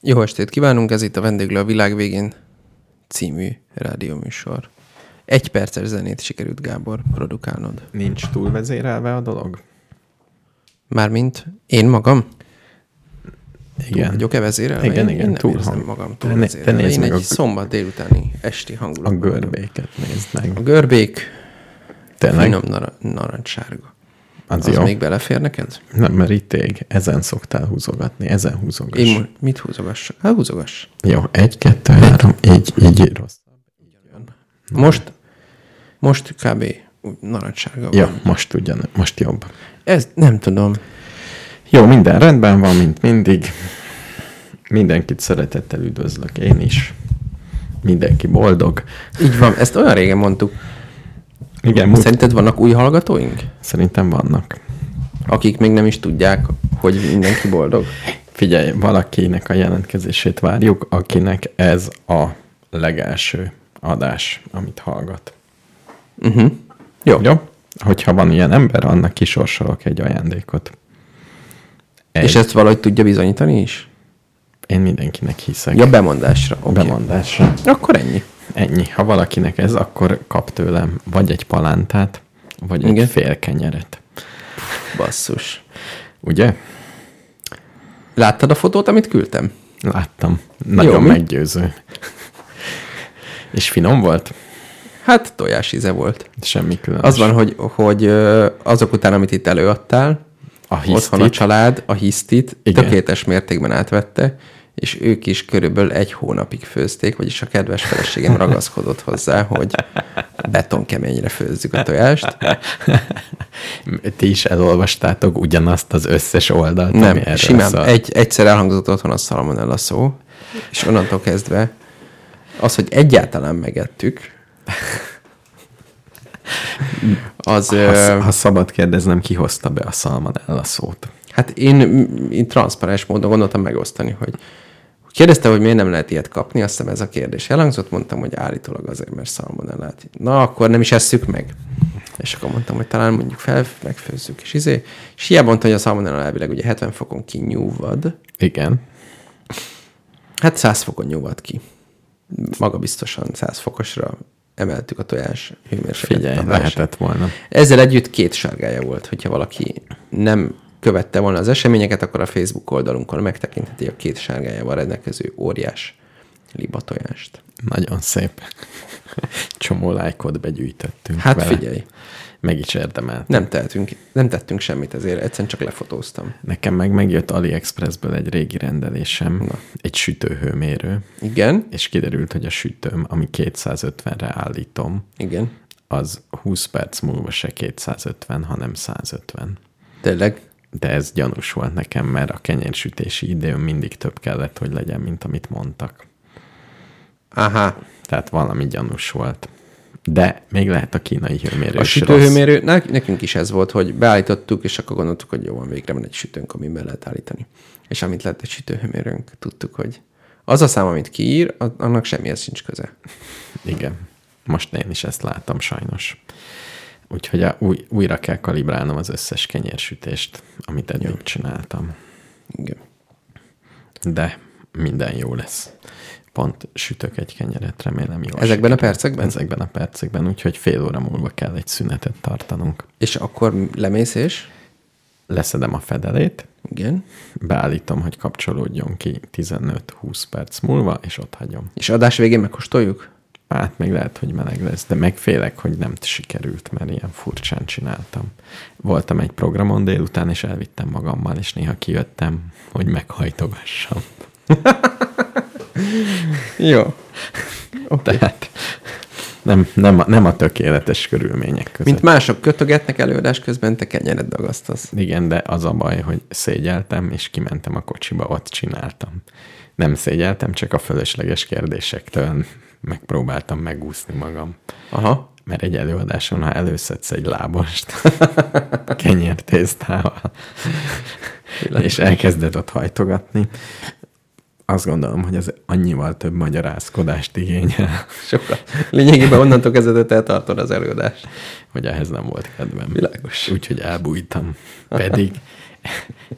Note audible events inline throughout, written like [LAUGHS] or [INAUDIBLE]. Jó estét kívánunk, ez itt a Vendéglő a világ végén című rádióműsor. Egy perces zenét sikerült, Gábor, produkálnod. Nincs túlvezérelve a dolog? Mármint én magam? Túl Túl vagyok-e vezérelve? Igen, én, igen, én nem túl érzem hang- magam Te túl né- te vezérelve. nézd Én meg egy a- szombat délutáni esti A hangulat. görbéket nézd meg. A görbék, Tényleg? finom nar- narancssárga. Az, Az, az jó. még belefér neked? Nem, mert itt ég. Ezen szoktál húzogatni. Ezen húzogass. Én mo- mit húzogassak? Hát húzogass. Jó, egy, kettő, három, így, így rossz. Most, most kb. úgy narancssárga van. Jó, most ugyan, most jobb. Ez nem tudom. Jó, minden rendben van, mint mindig. Mindenkit szeretettel üdvözlök én is. Mindenki boldog. Így van, ezt olyan régen mondtuk. Igen, múlt... Szerinted vannak új hallgatóink, szerintem vannak. akik még nem is tudják, hogy mindenki boldog? Figyelj, valakinek a jelentkezését várjuk, akinek ez a legelső adás, amit hallgat. Uh-huh. Jó. Jó? Hogyha van ilyen ember, annak kisorsolok egy ajándékot. Egy. És És ez... ezt valahogy tudja bizonyítani is? Én mindenkinek hiszek. Ja, bemondásra. Okay. Okay. Bemondásra. Akkor ennyi. Ennyi. Ha valakinek ez, akkor kap tőlem vagy egy palántát, vagy Igen. egy fél kenyeret. Basszus. Ugye? Láttad a fotót, amit küldtem? Láttam. Nagyon Jó, mi? meggyőző. És finom volt? Hát tojás íze volt. Semmi különös. Az van, hogy, hogy ö, azok után, amit itt előadtál, A hisztit. otthon a hisztit. család a hisztit Igen. Igen. tökéletes mértékben átvette, és ők is körülbelül egy hónapig főzték, vagyis a kedves feleségem ragaszkodott hozzá, hogy betonkeményre főzzük a tojást. Ti is elolvastátok ugyanazt az összes oldalt, Nem, ami erről simán. szól. Egy, egyszer elhangzott otthon a szalmonella szó, és onnantól kezdve az, hogy egyáltalán megettük, az... Ha, ö, sz- ha szabad kérdeznem, ki hozta be a szalmonella szót? Hát én, én transzparens módon gondoltam megosztani, hogy kérdezte, hogy miért nem lehet ilyet kapni, azt hiszem ez a kérdés elhangzott, mondtam, hogy állítólag azért, mert szalmonellát. Na, akkor nem is esszük meg. És akkor mondtam, hogy talán mondjuk fel, megfőzzük, és izé. És hiába mondta, hogy a szalmonella elvileg ugye 70 fokon kinyúvad, Igen. hát 100 fokon nyúvad ki. Magabiztosan 100 fokosra emeltük a tojás hőmérsékletet. a Figyelj, válság. lehetett volna. Ezzel együtt két sárgája volt, hogyha valaki nem követte volna az eseményeket, akkor a Facebook oldalunkon megtekintheti a két sárgájával rendelkező óriás libatojást. Nagyon szép. [LAUGHS] Csomó lájkot begyűjtöttünk Hát vele. figyelj, Meg is érdemelt. nem, tehetünk, nem tettünk semmit ezért, egyszerűen csak lefotóztam. Nekem meg megjött AliExpressből egy régi rendelésem, Na. egy sütőhőmérő, Igen, és kiderült, hogy a sütőm, ami 250-re állítom, igen, az 20 perc múlva se 250, hanem 150. tényleg. De ez gyanús volt nekem, mert a kenyérsütési időn mindig több kellett, hogy legyen, mint amit mondtak. Aha, Tehát valami gyanús volt. De még lehet a kínai hőmérő a is rossz. sütőhőmérő, nek- nekünk is ez volt, hogy beállítottuk, és akkor gondoltuk, hogy jó, van végre van egy sütőnk, amit be lehet állítani. És amit lett egy sütőhőmérőnk, tudtuk, hogy az a szám, amit kiír, a- annak semmihez sincs köze. Igen. Most én is ezt látom sajnos. Úgyhogy a, új, újra kell kalibrálnom az összes kenyérsütést, amit eddig Jó. csináltam. Igen. De minden jó lesz. Pont sütök egy kenyeret, remélem jó. Ezekben a percekben? Ezekben a percekben, úgyhogy fél óra múlva kell egy szünetet tartanunk. És akkor lemész és? Leszedem a fedelét, Igen. beállítom, hogy kapcsolódjon ki 15-20 perc múlva, és ott hagyom. És adás végén megkóstoljuk? Hát még lehet, hogy meleg lesz, de megfélek, hogy nem sikerült, mert ilyen furcsán csináltam. Voltam egy programon délután, és elvittem magammal, és néha kijöttem, hogy meghajtogassam. Jó. Okay. Tehát nem, nem, a, nem a tökéletes körülmények között. Mint mások kötögetnek előadás közben, te kenyeret dagasztasz. Igen, de az a baj, hogy szégyeltem, és kimentem a kocsiba, ott csináltam. Nem szégyeltem, csak a fölösleges kérdésektől megpróbáltam megúszni magam. Aha. Mert egy előadáson, ha előszedsz egy lábost [LAUGHS] kenyértésztával, és elkezded ott hajtogatni, azt gondolom, hogy ez annyival több magyarázkodást igényel, Sokat. Lényegében onnantól kezdve te tartod az előadást. hogy ehhez nem volt kedvem. Világos. Úgyhogy elbújtam. Pedig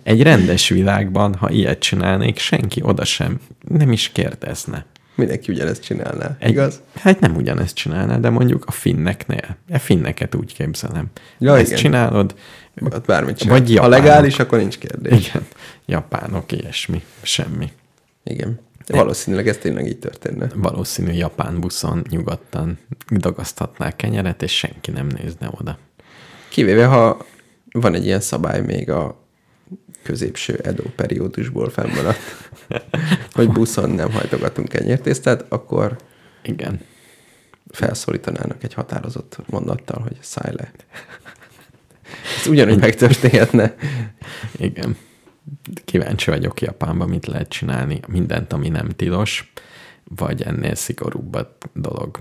Egy rendes világban, ha ilyet csinálnék, senki oda sem, nem is kérdezne. Mindenki ugyanezt csinálná, Egy, igaz? Hát nem ugyanezt csinálná, de mondjuk a finneknél. A finneket úgy képzelem. Ja, Ezt igen. csinálod, Hát bármit csinál. Vagy Vagy ha japánok. legális, akkor nincs kérdés. igen, japánok, ilyesmi, semmi. Igen. Valószínűleg ez tényleg így történne. Valószínű japán buszon nyugodtan dagaszthatnál kenyeret, és senki nem nézne oda. Kivéve, ha van egy ilyen szabály még a középső Edo periódusból fennmaradt, hogy buszon nem hajtogatunk kenyértésztát, akkor Igen. felszólítanának egy határozott mondattal, hogy szállj le. Ez ugyanúgy megtörténhetne. Igen. Kíváncsi vagyok Japánban, mit lehet csinálni. Mindent, ami nem tilos, vagy ennél szigorúbb a dolog.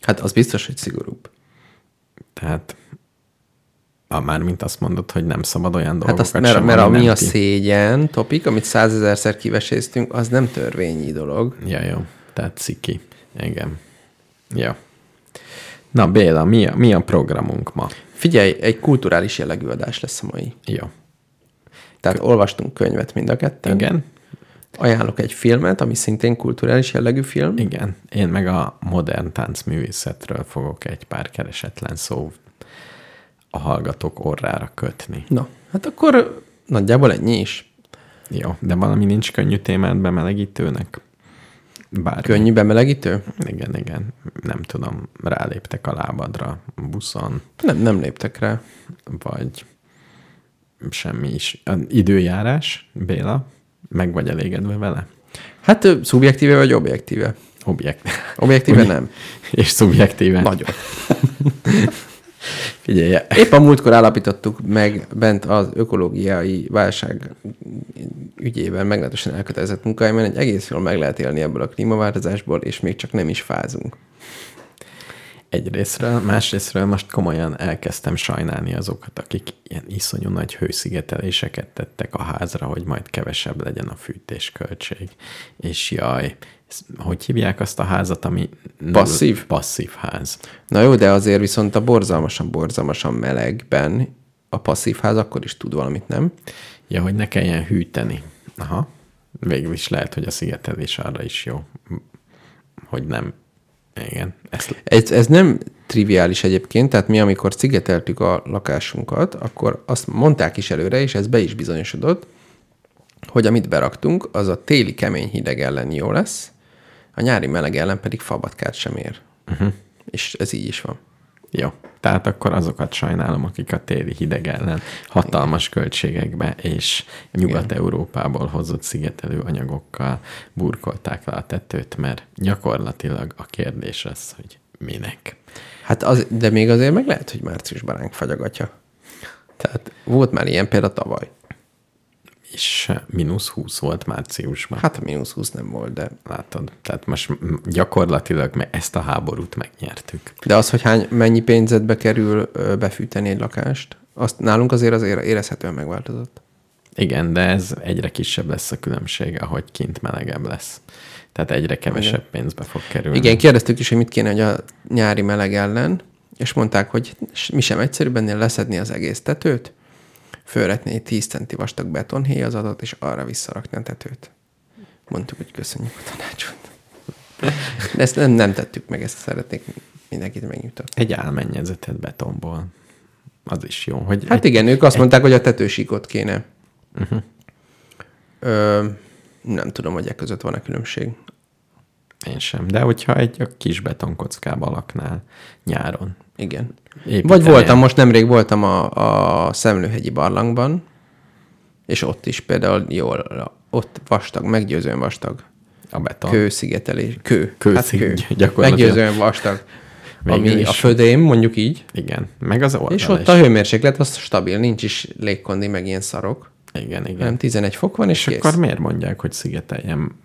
Hát az biztos, hogy szigorúbb. Tehát a már mint azt mondod, hogy nem szabad olyan Hát dolgokat azt, mert, sem, mert ami ami nem a ti- szégyen topik, amit százezerszer kiveséztünk, az nem törvényi dolog. Ja, jó. Tehát ciki. Igen. Ja. Na Béla, mi a, mi a programunk ma? Figyelj, egy kulturális jellegű adás lesz a mai. Jó. Tehát olvastunk könyvet mind a ketten. Igen? Ajánlok egy filmet, ami szintén kulturális jellegű film. Igen. Én meg a modern táncművészetről fogok egy pár keresetlen szó a hallgatók orrára kötni. Na, hát akkor nagyjából ennyi is. Jó, de valami nincs könnyű témát bemelegítőnek? Bár Könnyű bemelegítő? Igen, igen. Nem tudom, ráléptek a lábadra buszon, Nem, nem léptek rá. vagy semmi is. A időjárás, Béla, meg vagy elégedve vele? Hát ö, szubjektíve vagy objektíve? Objekt. Objektíve Ugye? nem. És szubjektíven. Nagyon. Figyelj, Épp a múltkor állapítottuk meg bent az ökológiai válság ügyében meglehetősen elkötelezett munkájában, egy egész jól meg lehet élni ebből a klímaváltozásból, és még csak nem is fázunk. egyrésztről, másrésztről most komolyan elkezdtem sajnálni azokat, akik ilyen iszonyú nagy hőszigeteléseket tettek a házra, hogy majd kevesebb legyen a fűtésköltség. És jaj, ezt- hogy hívják azt a házat, ami... Passzív? Passzív ház. Na jó, de azért viszont a borzalmasan, borzalmasan melegben a passzív ház akkor is tud valamit, nem? Ja, hogy ne kelljen hűteni. Aha. Végül is lehet, hogy a szigetelés arra is jó, hogy nem. Igen. Ezt, Ez, ez nem triviális egyébként, tehát mi, amikor szigeteltük a lakásunkat, akkor azt mondták is előre, és ez be is bizonyosodott, hogy amit beraktunk, az a téli kemény hideg ellen jó lesz, a nyári meleg ellen pedig fabatkát sem ér. Uh-huh. És ez így is van. jó. Tehát akkor azokat sajnálom, akik a téli hideg ellen hatalmas költségekbe és Nyugat-Európából hozott szigetelő anyagokkal burkolták le a tetőt, mert gyakorlatilag a kérdés az, hogy minek. Hát az, de még azért meg lehet, hogy márciusban ránk fagyagatja. Tehát volt már ilyen példa tavaly. És eh, mínusz 20 volt márciusban. Hát a mínusz 20 nem volt, de Látod? Tehát most m- gyakorlatilag me- ezt a háborút megnyertük. De az, hogy hány, mennyi pénzedbe kerül ö, befűteni egy lakást, azt nálunk azért az ére- érezhetően megváltozott. Igen, de ez egyre kisebb lesz a különbség, ahogy kint melegebb lesz. Tehát egyre kevesebb pénzbe fog kerülni. Igen, kérdeztük is, hogy mit kéne, hogy a nyári meleg ellen, és mondták, hogy s- mi sem egyszerűbb ennél leszedni az egész tetőt, fölretni egy 10 centi vastag betonhéjazatot, és arra visszarakni a tetőt. Mondtuk, hogy köszönjük a tanácsot. De ezt nem, nem tettük meg, ezt szeretnék mindenkit megnyugtatni. Egy álmennyezetet betonból. Az is jó, hogy Hát hát igen, ők azt mondták, hogy a tetősíkot kéne. Uh-huh. Mhm. Ö, nem tudom, hogy e között van-e különbség. én sem. De hogyha egy a kis betonkockába laknál nyáron. Igen. Építeni Vagy voltam, most nemrég voltam a, a Szemlőhegyi barlangban, és ott is például jól, ott vastag, meggyőzően vastag. a beton. Kő. Kőszigetelés, kő. Kő hát kő. szig- gyakorlatilag. Meggyőzően vastag. Végül ami is. a födém, mondjuk így. Igen, meg az oldal És ott is. a hőmérséklet, az stabil, nincs is légkondi, meg ilyen szarok. Igen, igen. Nem, 11 fok van, és, És kész. akkor miért mondják, hogy szigeteljem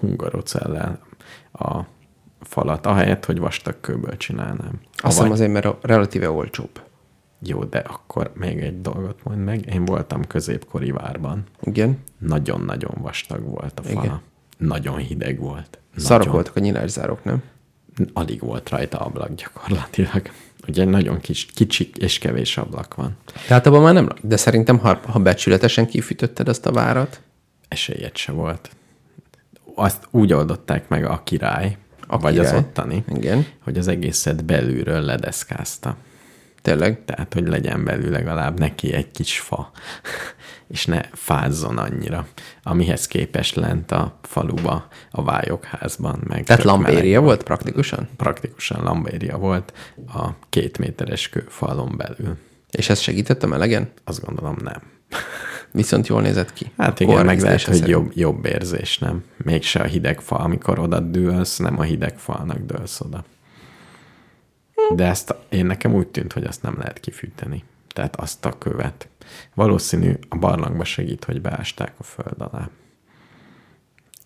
hungarocellel a falat, ahelyett, hogy vastag kőből csinálnám? Azt Avagy- hiszem azért, mert a- relatíve olcsóbb. Jó, de akkor még egy dolgot mond meg. Én voltam középkori várban. Igen. Nagyon-nagyon vastag volt a fala. Igen. Nagyon hideg volt. Nagyon. Szarok voltak a nyilászárok, nem? Alig volt rajta ablak gyakorlatilag. Ugye nagyon kis, kicsik és kevés ablak van. Tehát abban már nem, lak- de szerintem, ha, ha becsületesen kifűtötted azt a várat, Esélyed se volt. Azt úgy oldották meg a király, A a vagy király. király. az ottani, igen, hogy az egészet belülről ledeszkázta. tényleg, Tehát, hogy legyen belül legalább neki egy kis fa, [LAUGHS] és ne fázzon annyira, amihez képest lent a faluba, a vályokházban. Meg tehát tök meleg lambéria volt praktikusan? praktikusan lambéria volt a két méteres kőfalon belül. És ez segített a melegen? Azt gondolom nem. Viszont jól nézett ki. Hát A igen, meg korrigzése lehet, hogy szerint. jobb, jobb érzés, nem? Mégse a hideg fa, amikor oda dőlsz, nem a hideg falnak dőlsz oda. De ezt a- én nekem úgy tűnt, hogy azt nem lehet kifűteni. Tehát azt a követ. Valószínű a barlangba segít, hogy beásták a föld alá.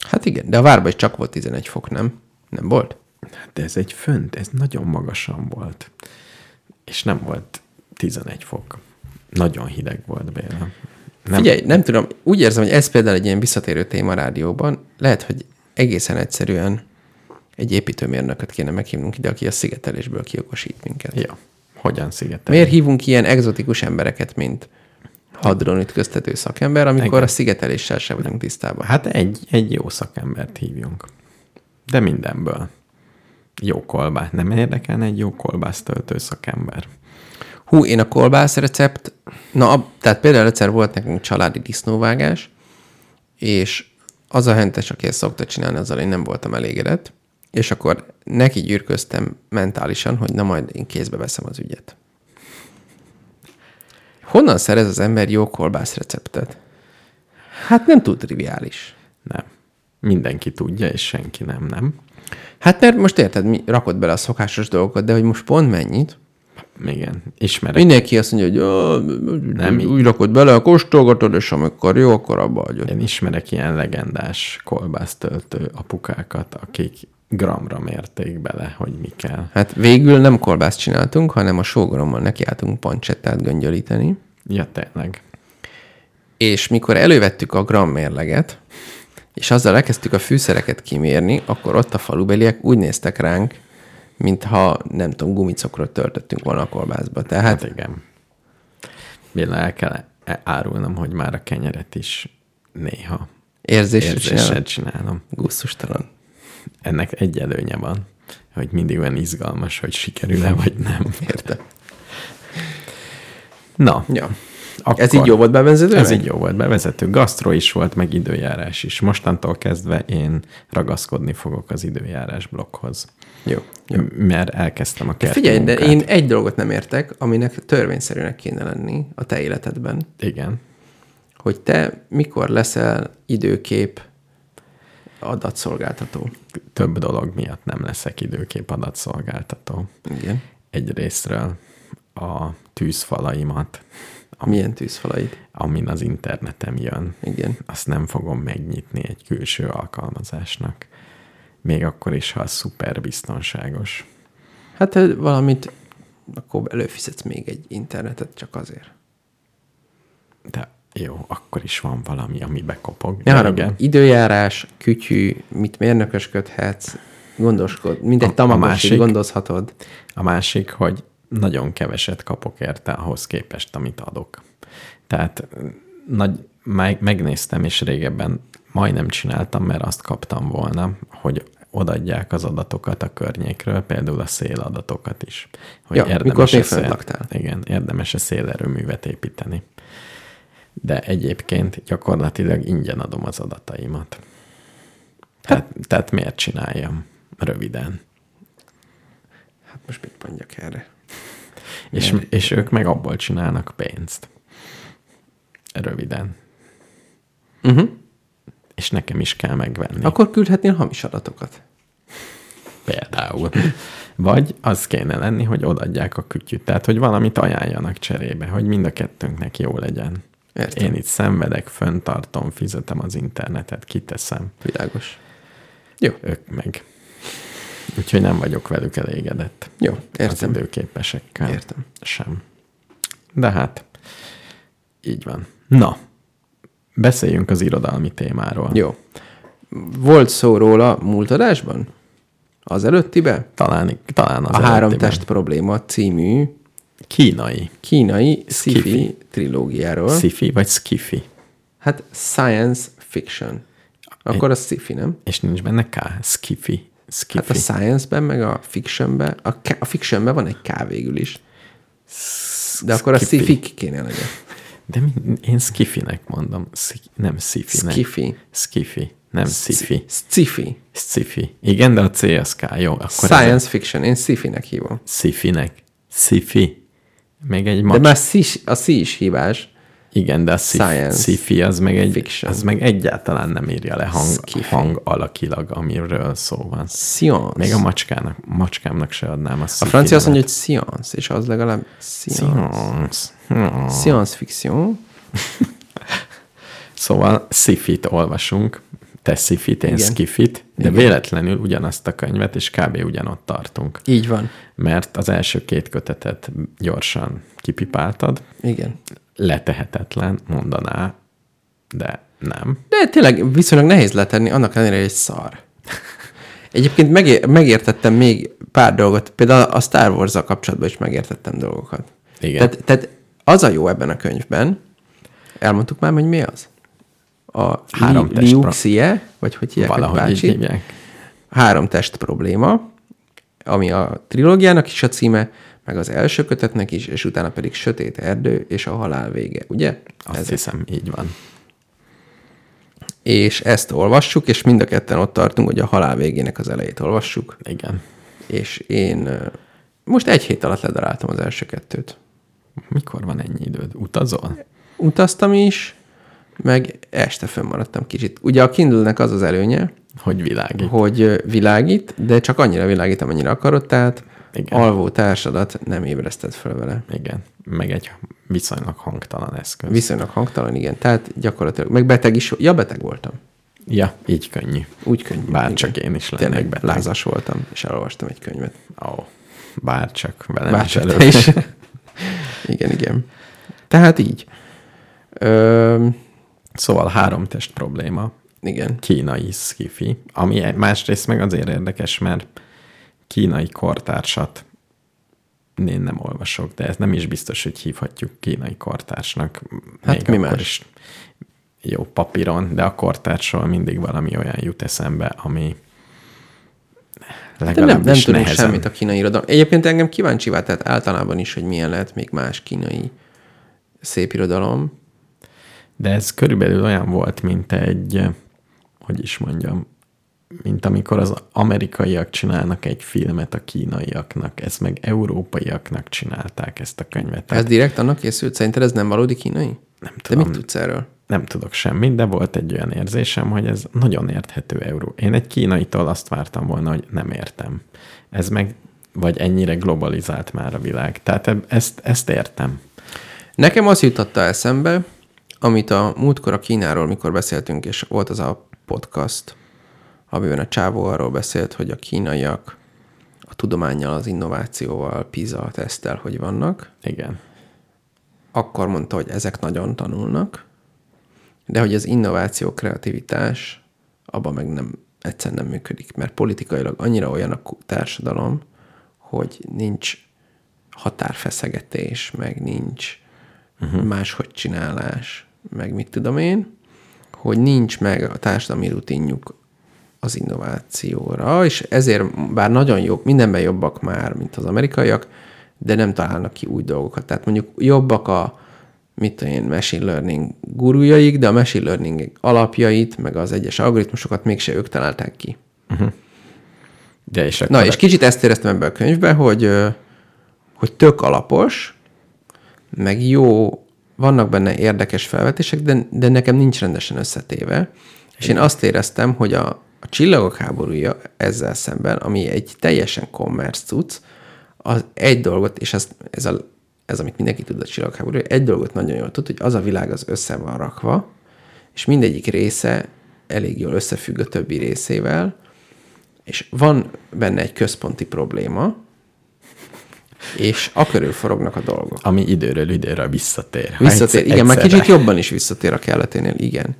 Hát igen, de a várban is csak volt 11 fok, nem? Nem volt? Hát de ez egy fönt, ez nagyon magasan volt. És nem volt 11 fok. Nagyon hideg volt, Béla. Nem. Figyelj, nem tudom, úgy érzem, hogy ez például egy ilyen visszatérő téma a rádióban. Lehet, hogy egészen egyszerűen egy építőmérnököt kéne meghívnunk ide, aki a szigetelésből kiokosít minket. Ja, hogyan szigetelni? Miért hívunk ilyen egzotikus embereket, mint hadron ütköztető szakember, amikor Igen. a szigeteléssel sem vagyunk tisztában? Hát egy, egy jó szakembert hívjunk. De mindenből. Jó kolbász. Nem érdekelne egy jó kolbász töltő szakember. Hú, én a kolbász recept, na, ab- tehát például egyszer volt nekünk családi disznóvágás, és az a hentes, aki ezt szokta csinálni, azzal én nem voltam elégedett, és akkor neki gyűrköztem mentálisan, hogy na majd én kézbe veszem az ügyet. Honnan szerez az ember jó kolbász receptet? Hát nem túl triviális. Nem. Mindenki tudja, és senki nem, nem? Hát mert most érted, mi rakod bele a szokásos dolgokat, de hogy most pont mennyit? Igen. Ismerek. Mindenki azt mondja, hogy "Ö, Nem így. úgy rakod bele, kóstolgatod, és amikor jó, akkor abba hagyod. Én ismerek ilyen legendás kolbásztöltő apukákat, akik gramra mérték bele, hogy mi kell. Hát végül nem kolbászt csináltunk, hanem a sógorommal nekiálltunk pancsettát göngyölíteni, Ja, tényleg. és mikor elővettük a gram mérleget, és azzal elkezdtük a fűszereket kimérni, akkor ott a falubeliek úgy néztek ránk, mintha, nem tudom, gumicokrot töltöttünk volna a kolbászba. Tehát Hát igen. Béla, el kell árulnom, hogy már a kenyeret is néha érzésre érzéssel csinálom. csinálom. Gusztustalan. ennek egy előnye van, hogy mindig olyan izgalmas, hogy sikerül-e, vagy nem. Értem. Na, Ja. Akkor ez így jó volt bevezető? Ez így jó volt, bevezető. Gasztro is volt, meg időjárás is. Mostantól kezdve én ragaszkodni fogok az időjárás blokkhoz. Jó. M- Mert elkezdtem a kerti Figyelj, de munkát. én egy dolgot nem értek, aminek törvényszerűnek kéne lenni a te életedben, Igen. hogy te mikor leszel időkép adatszolgáltató. Több dolog miatt nem leszek időkép adatszolgáltató. Igen. Egyrésztről a tűzfalaimat, ami, Milyen tűzfalaid? amin az internetem jön, Igen. azt nem fogom megnyitni egy külső alkalmazásnak. Még akkor is, ha az szuper biztonságos. Hát te valamit, akkor előfizetsz még egy internetet csak azért. De jó, akkor is van valami, ami bekopog. Ne De haragudj, időjárás, kütyű, mit mérnökösködhetsz, gondoskod, mindegy, A- a tamagosit másik- gondozhatod. A másik, hogy nagyon keveset kapok érte ahhoz képest, amit adok. Tehát nagy, meg, megnéztem, és régebben majdnem csináltam, mert azt kaptam volna, hogy odaadják az adatokat a környékről, például a széladatokat is. Hogy Ja, mikor még szél- fönt laktál. Igen, érdemes-e szélerőművet építeni. De egyébként gyakorlatilag ingyen adom az adataimat. Tehát, tehát miért csináljam? Röviden. Hát most mit mondjak erre? És, és ők meg abból csinálnak pénzt. Röviden. Uh-huh. Mhm. És nekem is kell megvenni. Ak- Akkor küldhetnél hamis adatokat. például. Vagy az kéne lenni, hogy odaadják a kütyüt. Tehát, hogy valamit ajánljanak cserébe, hogy mind a kettőnknek jó legyen. Értem. Én itt szenvedek, föntartom, fizetem az internetet, kiteszem. Világos. Jó. Ők meg. Úgyhogy nem vagyok velük elégedett. Jó, Értem. értem. Az időképesekkel. Értem. Sem. De hát, így van. Na, beszéljünk az irodalmi témáról. Jó. Volt szó róla múlt adásban? Az előttibe? Talán, talán az A három előttiben. test probléma című Kínai. kínai sci-fi Skifi. trilógiáról. Sci-fi vagy skifi. Hát science fiction. Akkor a sci-fi, nem? És nincs benne K. Skifi. Skifi. Hát a science-ben, meg a fictionben, a, K- a fictionben van egy K végül is. De akkor a Skifi. sci-fi kéne legyen. De mi, én skifinek mondom. Sci- nem sci-finek. Skifi. Skifi. Nem sci-fi. Sci-fi. Sci-fi. Igen, de a C az K. Jó, akkor ez Science fiction. Én sci-finek hívom. a sci-finek. Sci-fi. Még egy De ma... már sci- a sci is hívás. Igen, de a sci- Science sci-fi az meg, egy, fiction. az meg egyáltalán nem írja le hang, Skifi. hang alakilag, amiről szó van. Science. Még a macskának, macskámnak se adnám a A sci-fi francia azt nevet. mondja, hogy science, és az legalább science. Science. Hmm. Science fiction. Szóval szifit olvasunk, te szifit, én Igen. skifit, de Igen. véletlenül ugyanazt a könyvet, és kb. ugyanott tartunk. Így van. Mert az első két kötetet gyorsan kipipáltad, Igen. letehetetlen, mondaná, de nem. De tényleg viszonylag nehéz letenni, annak ellenére, hogy egy szar. [LAUGHS] Egyébként megé- megértettem még pár dolgot, például a Star wars kapcsolatban is megértettem dolgokat. Igen. Tehát, tehát az a jó ebben a könyvben, elmondtuk már, hogy mi az? A Három Három li- test pro- Liu Xie, vagy hogy hívják egy Valahogy így bácsit? hívják. Három test probléma, ami a trilógiának is a címe, meg az első kötetnek is, és utána pedig Sötét Erdő és a Halál vége, ugye? Azt hiszem, így van. És ezt olvassuk, és mind a ketten ott tartunk, hogy a Halál végének az elejét olvassuk, Igen. és én ö, most egy hét alatt ledaráltam az első kettőt. Mikor van ennyi időd? Utazol? Utaztam is, meg este fönnmaradtam kicsit. Ugye a Kindle-nek az az előnye, Hogy világít? hogy ö, világít, de csak annyira világít, amennyire akarod, tehát Igen. Igen. alvó társadat nem ébreszted föl vele. Igen. Meg egy viszonylag hangtalan eszköz. Viszonylag hangtalan, igen. Tehát gyakorlatilag, meg beteg is, ja, beteg voltam. ja, így könnyű. Úgy könnyű. Bár igen. csak én is lennék Tényleg beteg. lázas voltam, és elolvastam egy könyvet. Ó, bárcsak velem Bár is csak elő- te is. [LAUGHS] igen, igen. Tehát így. Ö, Szóval három test probléma, igen. kínai skifi, ami egy- másrészt meg azért érdekes, mert kínai kortársat én nem olvasok, de ez nem is biztos, hogy hívhatjuk kínai kortársnak. Hát mi akkor más? Is jó papíron, de a kortársról mindig valami olyan jut eszembe, ami De Hát nem, legalábbis nem tudunk nehezen. semmit a kínai irodalom. Egyébként engem kíváncsivá tett általában is, hogy milyen lehet még más kínai szép irodalom. De ez körülbelül olyan volt, mint egy, eh, hogy is mondjam, mint amikor az amerikaiak csinálnak egy filmet a kínaiaknak, ezt meg európaiaknak csinálták ezt a könyvet. Ez Tehát direkt annak készült? Szerinted ez nem valódi kínai? Nem Hát- tudom. De mit tudsz erről? nem tudok semmit, de volt egy olyan érzésem, hogy ez nagyon érthető euró. Én egy kínaitól azt vártam volna, hogy nem értem. Ez meg, vagy ennyire globalizált már a világ. Tehát eb- ezt, ezt értem. Nekem az jutotta eszembe, amit a múltkor a Kínáról, mikor beszéltünk, és volt az a podcast, amiben a csávó arról beszélt, hogy a kínaiak a tudományjal, az innovációval, PISA tesztel, hogy vannak. Igen. Akkor mondta, hogy ezek nagyon tanulnak, de hogy az innováció, kreativitás abban meg nem, egyszerűen nem működik, mert politikailag annyira olyan a ku- társadalom, hogy nincs határfeszegetés, meg nincs uh-huh. máshogy csinálás, meg mit tudom én, hogy nincs meg a társadalmi rutinjuk az innovációra, és ezért bár nagyon jók, mindenben jobbak már, mint az amerikaiak, de nem találnak ki új dolgokat. Tehát mondjuk jobbak a mit tudom én, machine learning gurújaik, de a machine learning alapjait, meg az egyes algoritmusokat mégse ők találták ki. De és akkor Na, és kicsit ezt éreztem ebben a könyvben, hogy, ö, hogy tök alapos, meg jó, vannak benne érdekes felvetések, de, de nekem nincs rendesen összetéve. És én azt éreztem, hogy a, a csillagok háborúja ezzel szemben, ami egy teljesen commerce cucc, az egy dolgot, és ez, ez, a, ez amit mindenki tud a csillagháborúja, egy dolgot nagyon jól tud, hogy az a világ az össze van rakva, és mindegyik része elég jól összefügg a többi részével, és van benne egy központi probléma, és a körül forognak a dolgok. ami időről időre visszatér. Ha Visszatér, egyszer- igen, már egyszerre. kicsit jobban is visszatér a kelleténél, igen.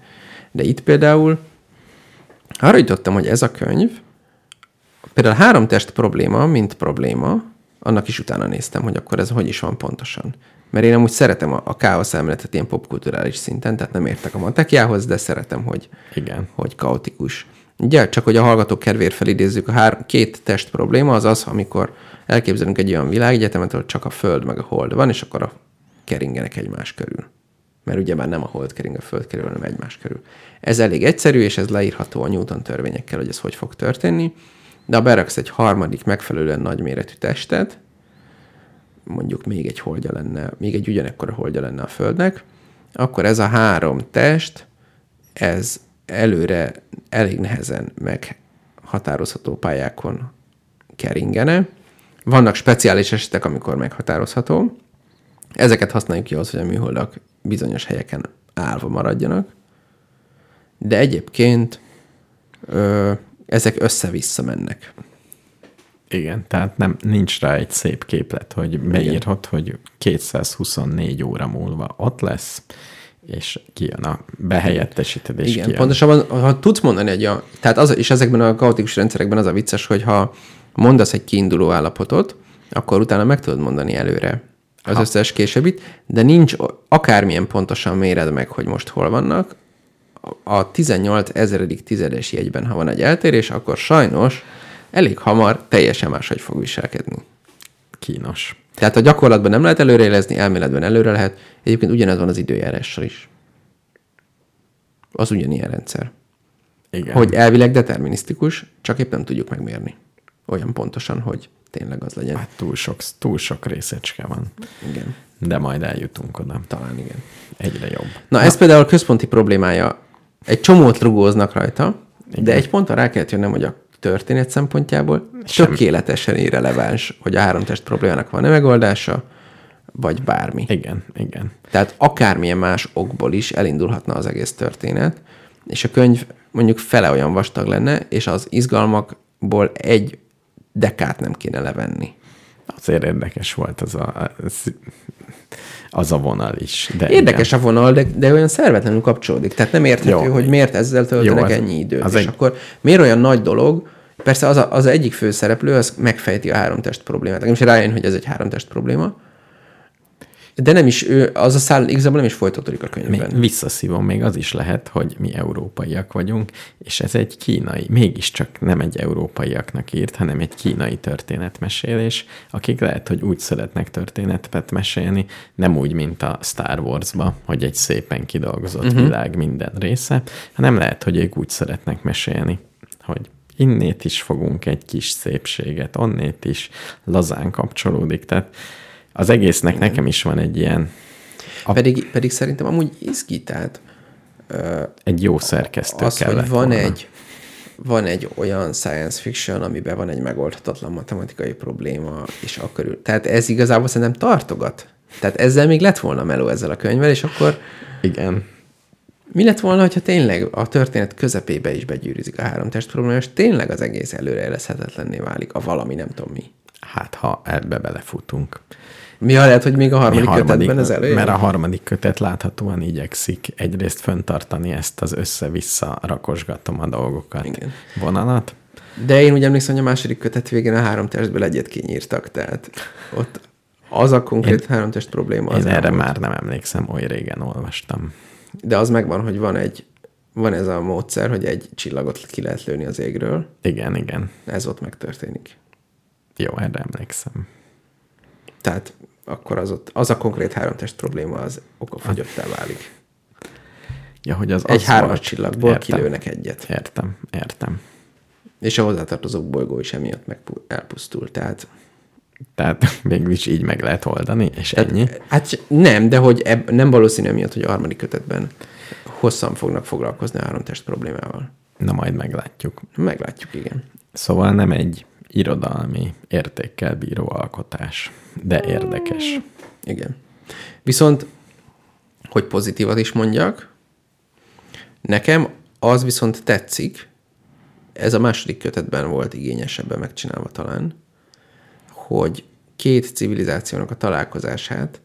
De itt például arra jutottam, hogy ez a könyv Például a három test probléma, mint probléma, annak is utána néztem, hogy akkor ez hogy is van pontosan. Mert én amúgy szeretem a, a káosz elméletet ilyen popkulturális szinten, tehát nem értek a matekjához, de szeretem, hogy, Igen. hogy kaotikus. Ugye, csak hogy a hallgatók kedvéért felidézzük, a hár, két test probléma az az, amikor elképzelünk egy olyan világegyetemet, ahol csak a Föld meg a Hold van, és akkor a keringenek egymás körül. Mert ugye már nem a Hold kering a Föld körül, hanem egymás körül. Ez elég egyszerű, és ez leírható a Newton törvényekkel, hogy ez hogy fog történni. De ha beraksz egy harmadik megfelelően nagyméretű testet, mondjuk még egy holdja lenne, még egy ugyanekkora holdja lenne a Földnek, akkor ez a három test, ez előre elég nehezen meghatározható pályákon keringene. Vannak speciális esetek, amikor meghatározható. Ezeket használjuk ki ahhoz, hogy a műholdak bizonyos helyeken állva maradjanak. De egyébként ö, ezek össze-vissza mennek. Igen, tehát nem, nincs rá egy szép képlet, hogy beírhat, hogy 224 óra múlva ott lesz, és kijön a behelyettesíted, és Igen, kijön. pontosabban, ha tudsz mondani egy olyan, tehát az, és ezekben a kaotikus rendszerekben az a vicces, hogy ha mondasz egy kiinduló állapotot, akkor utána meg tudod mondani előre az ha. összes későbbit, de nincs o- akármilyen pontosan méred meg, hogy most hol vannak, a 18 ezeredik tizedes jegyben, ha van egy eltérés, akkor sajnos elég hamar teljesen máshogy fog viselkedni. Kínos. Tehát a gyakorlatban nem lehet előrejelezni, elméletben előre lehet. Egyébként ugyanez van az időjárással is. Az ugyanilyen rendszer. Igen. Hogy elvileg determinisztikus, csak épp nem tudjuk megmérni. Olyan pontosan, hogy tényleg az legyen. Hát túl sok, túl sok részecske van. Igen. De majd eljutunk oda. Talán igen. Egyre jobb. Na, ez például a központi problémája. Egy csomót rugóznak rajta, igen. de egy ponton rá kellett jönnöm, hogy a történet szempontjából Sem. tökéletesen irreleváns, hogy a három test problémának van-e megoldása, vagy bármi. Igen, igen. Tehát akármilyen más okból is elindulhatna az egész történet, és a könyv mondjuk fele olyan vastag lenne, és az izgalmakból egy dekát nem kéne levenni. Azért érdekes volt az a, az, az a vonal is. De Érdekes a vonal, de, de olyan szervetlenül kapcsolódik. Tehát nem érthető, Jó. Jó. hogy miért ezzel töltenek Jó, Jó, az- ennyi időt. az Az és egy- egy... akkor miért olyan nagy dolog, Persze az, a, az egyik főszereplő, az megfejti a háromtest problémát. Nekem is rájön, hogy ez egy háromtest probléma. De nem is, ő, az a szál igazából nem is folytatódik a könyvben. Még visszaszívom, még az is lehet, hogy mi európaiak vagyunk, és ez egy kínai, mégiscsak nem egy európaiaknak írt, hanem egy kínai történetmesélés, akik lehet, hogy úgy szeretnek történetet mesélni, nem úgy, mint a Star Wars-ba, hogy egy szépen kidolgozott uh-huh. világ minden része, hanem lehet, hogy ők úgy szeretnek mesélni, hogy innét is fogunk egy kis szépséget, onnét is lazán kapcsolódik, tehát az egésznek nekem is van egy ilyen A... Pedig, pedig szerintem amúgy izgi, tehát egy jó szerkesztő az, kellett hogy van volna. egy, van egy olyan science fiction, amiben van egy megoldhatatlan matematikai probléma, és a körül. Tehát ez igazából szerintem tartogat. Tehát ezzel még lett volna meló ezzel a könyvvel, és akkor Igen. mi lett volna, hogyha tényleg a történet közepébe is begyűrűzik a három test probléma, és tényleg az egész előrejelezhetetlenné válik a valami, nem tudom mi. Hát, ha ebbe belefutunk. Mi ha lehet, hogy még a Mi harmadik, harmadik- kötetben ez előjön? Mert a harmadik kötet láthatóan igyekszik egyrészt föntartani ezt az össze-vissza rakosgatom a dolgokat Igen. Igen. vonalat. De én úgy emlékszem, hogy a második kötet végén a három testből egyet kinyírtak, tehát ott az a konkrét én, három test probléma az Én erre elmúlt. már nem emlékszem, oly régen olvastam. De az megvan, hogy van egy, van ez a módszer, hogy egy csillagot ki lehet lőni az égről. Igen, igen. Ez ott megtörténik. Jó, erre emlékszem. Tehát akkor az, ott, az a konkrét három test probléma az okafogyottá válik. Ja, hogy az Egy az hármas volt. csillagból Értem. kilőnek egyet. Értem, értem. És a hozzátartozó bolygó is emiatt meg elpusztul. Tehát, Tehát [LAUGHS] végül is így meg lehet oldani, és tehát ennyi. Hát nem, de hogy eb, nem valószínű miatt, hogy a harmadik kötetben hosszan fognak foglalkozni a három test problémával. Na majd meglátjuk. Meglátjuk, igen. Szóval nem egy irodalmi értékkel bíró alkotás, de érdekes. Igen. Viszont, hogy pozitívat is mondjak, nekem az viszont tetszik, ez a második kötetben volt igényesebben megcsinálva talán, hogy két civilizációnak a találkozását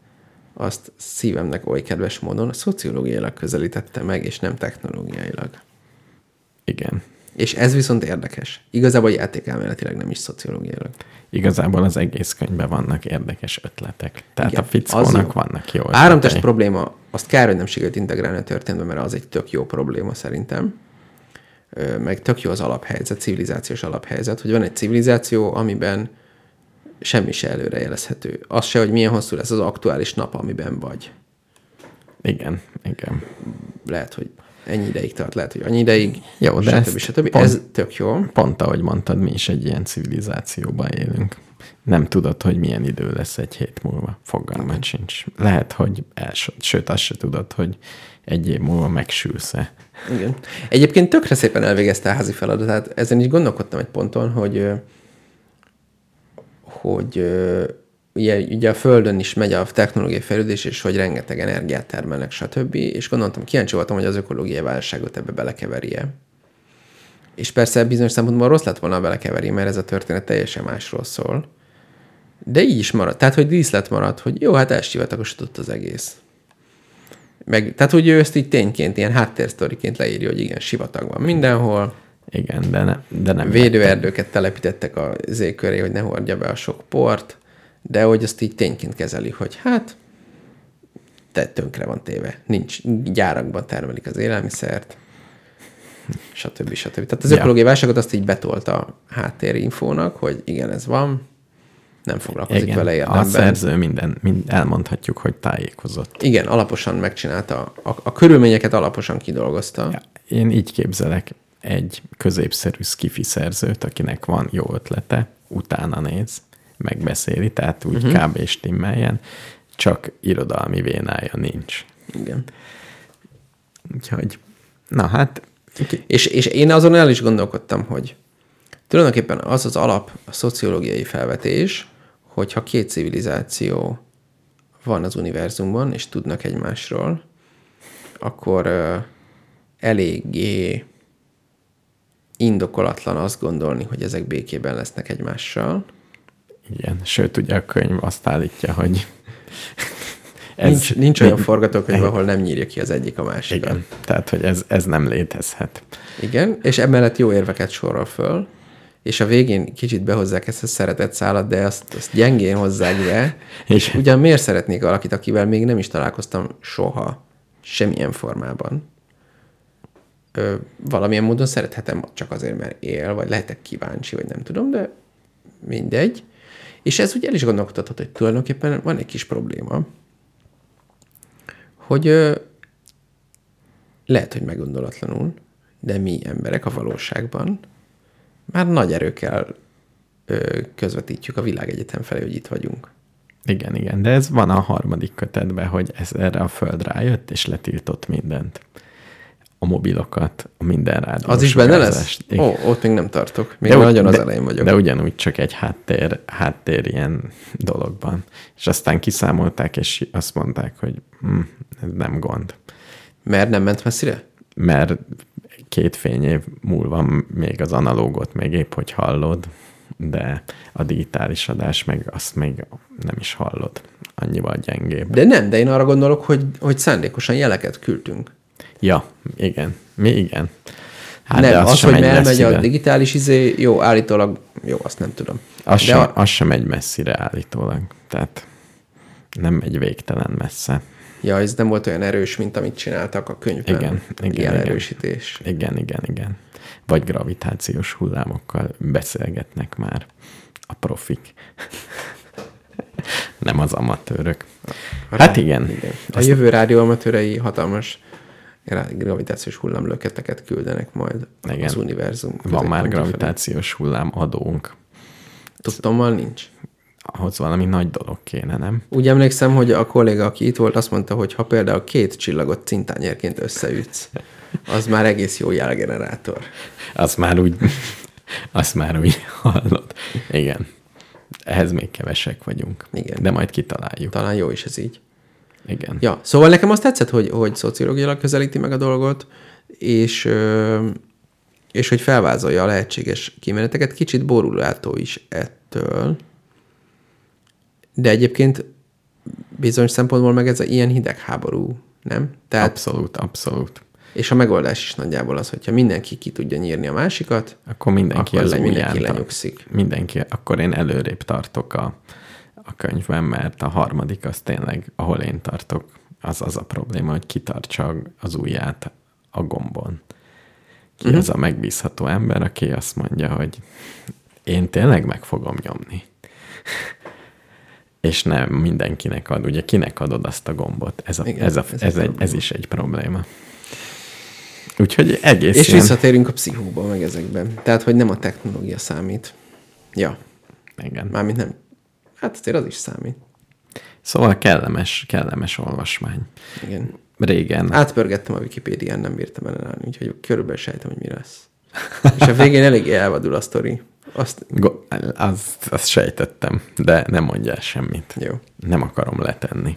azt szívemnek oly kedves módon szociológiailag közelítette meg, és nem technológiailag. Igen. És ez viszont érdekes. Igazából játékelméletileg nem is szociológiailag. Igazából az egész könyvben vannak érdekes ötletek. Tehát Igen, Hát a az fickónak jó. vannak jó ötletei. Áramtest probléma, azt kár, hogy nem sikerült integrálni a történetbe, mert az egy tök jó probléma szerintem. Ö, Meg tök jó az alaphelyzet, civilizációs alaphelyzet, hogy van egy civilizáció, amiben semmi se előrejelezhető. Az se, hogy milyen hosszú lesz az aktuális nap, amiben vagy. Igen, igen. Lehet, hogy ennyi ideig tart, lehet, hogy annyi ideig, Jó, de stb. ezt stb. pont- Ez tök jó. Pont ahogy mondtad, mi is egy ilyen civilizációban élünk. Nem tudod, hogy milyen idő lesz egy hét múlva. Fogalmat sincs. Lehet, hogy els, sőt, azt se tudod, hogy egy év múlva megsülsz-e. Igen. Egyébként tökre szépen elvégezte a házi feladatát. Ezen is gondolkodtam egy ponton, hogy ö, hogy ö, ugye, ugye a Földön is megy a technológiai fejlődés, és hogy rengeteg energiát termelnek, stb. És gondoltam, kíváncsi voltam, hogy az ökológiai válságot ebbe belekeverje. És persze bizonyos szempontból rossz lett volna, ha belekeveri, mert ez a történet teljesen másról szól. De így is maradt. Tehát, hogy díszlet maradt, hogy jó, hát elsivatagosodott az egész. Meg, tehát, hogy ő ezt így tényként, ilyen háttérsztoriként leírja, hogy igen, sivatag van mindenhol, Igen, de, ne, de nem. védőerdőket telepítettek a zé köré, hogy ne hordja be a sok port, de hogy azt így tényként kezeli, hogy hát, te tönkre van téve. Nincs, gyárakban termelik az élelmiszert, stb. stb. Tehát az Ja. ökológiai válságot azt így betolta a háttérinfónak, hogy igen, ez van, nem foglalkozik Igen, vele a érdemben. szerző minden, mind, elmondhatjuk, hogy tájékozott. Igen, alaposan megcsinálta, a, a körülményeket alaposan kidolgozta. Ja, Én így képzelek egy középszerű skifi szerzőt, akinek van jó ötlete, utána néz, megbeszéli, tehát úgy Mhm. uh-huh. kb. stimmeljen, csak irodalmi vénája nincs. Igen. Úgyhogy, na hát, És, és én azon el is gondolkodtam, hogy tulajdonképpen az az alap a szociológiai felvetés, hogyha két civilizáció van az univerzumban, és tudnak egymásról, akkor ö, eléggé indokolatlan azt gondolni, hogy ezek békében lesznek egymással. igen, sőt, ugye a könyv azt állítja, hogy [LAUGHS] Ez, nincs, nincs olyan forgatókönyv, Igen. ahol nem nyírja ki az egyik a másikat. Igen, tehát, hogy ez, ez nem létezhet. Igen, és emellett jó érveket sorol föl, és a végén kicsit behozzák ezt a szeretett szálat, de azt, azt gyengén hozzák be. És- És ugyan miért szeretnék valakit, akivel még nem is találkoztam soha, semmilyen formában? Ö, valamilyen módon szerethetem csak azért, mert él, vagy lehetek kíváncsi, vagy nem tudom, de mindegy. És ez ugye el is gondolkodhatott, hogy tulajdonképpen van egy kis probléma, hogy ö, lehet, hogy meggondolatlanul, de mi emberek a valóságban már nagy erőkkel ö, közvetítjük a világegyetem felé, hogy itt vagyunk. Igen, igen, de ez van a harmadik kötetben, hogy ez erre a föld rájött, és letiltott mindent. A mobilokat, a minden rádiós Az is benne lesz? sugárzást. Ó, Igen. ott még nem tartok. Még de nagyon az de, elején vagyok. De ugyanúgy csak egy háttér, háttér ilyen [LAUGHS] dologban. És aztán kiszámolták, és azt mondták, hogy hm, ez nem gond. Mert nem ment messzire? Mert két fény év múlva még az analógot még épp hogy hallod, de a digitális adás meg azt még nem is hallod. Annyival gyengébb. De nem, de én arra gondolok, hogy, hogy szándékosan jeleket küldtünk. Ja, igen. Mi igen. Hát nem, az az, sem hogy megy elmegy a messzire. digitális izé, jó, állítólag, jó, azt nem tudom. Az, de sem, a- az sem megy messzire állítólag. Tehát nem megy végtelen messze. Ja, ez nem volt olyan erős, mint amit csináltak a könyvben. Igen, igen, Ilyen igen. erősítés. Igen, igen, igen. Vagy gravitációs hullámokkal beszélgetnek már a profik. [LAUGHS] nem az amatőrök. Hát igen. Igen. A jövő rádió amatőrei hatalmas gra- gravitációs hullámlöketeket küldenek majd Igen. igen. az univerzum. Van már középpontja felé. gravitációs hullám adónk. Tudtommal nincs. Ahhoz valami nagy dolog kéne, nem? Úgy emlékszem, hogy a kolléga, aki itt volt, azt mondta, hogy ha például két csillagot cintányérként összeütsz, az már egész jó jelgenerátor. Azt már úgy, [LAUGHS] azt már úgy hallod. Igen. Ehhez még kevesek vagyunk. Igen. De majd kitaláljuk. Talán jó is ez így. Igen. Ja, szóval nekem azt tetszett, hogy, hogy szociológiailag közelíti meg a dolgot, és, ö, és hogy felvázolja a lehetséges kimeneteket. Kicsit borulátó is ettől. De egyébként bizonyos szempontból meg ez a ilyen hidegháború, nem? Tehát Abszolút, abszolút. És a megoldás is nagyjából az, hogyha mindenki ki tudja nyírni a másikat, Akkor mindenki Akkor az le- mindenki ujján tart- lenyugszik. Mindenki, akkor én előrébb tartok a, a könyvben, mert a harmadik az tényleg, ahol én tartok, az az a probléma, hogy kitartsa az ujját a gombon. Mhm. Ki uh-huh. az a megbízható ember, aki azt mondja, hogy én tényleg meg fogom nyomni. [LAUGHS] És nem mindenkinek ad. Ugye kinek adod azt a gombot? Ez, a, Igen, Igen, ez, a, ez ez, a ez, egy, ez probléma. is egy probléma. Úgyhogy egész és ilyen- visszatérünk a pszichóba, meg ezekben. Tehát, hogy nem a technológia számít. Ja, Igen. mármint nem. Hát azért az is számít. Szóval kellemes, kellemes olvasmány. Igen. Régen. Átpörgettem a Wikipédián, nem bírtam ellenállni, úgyhogy körülbelül sejtem, hogy mi lesz. És a végén elég elvadul a sztori. Azt, Go- azt, azt sejtettem, de nem mondjál semmit. Jó. Nem akarom letenni.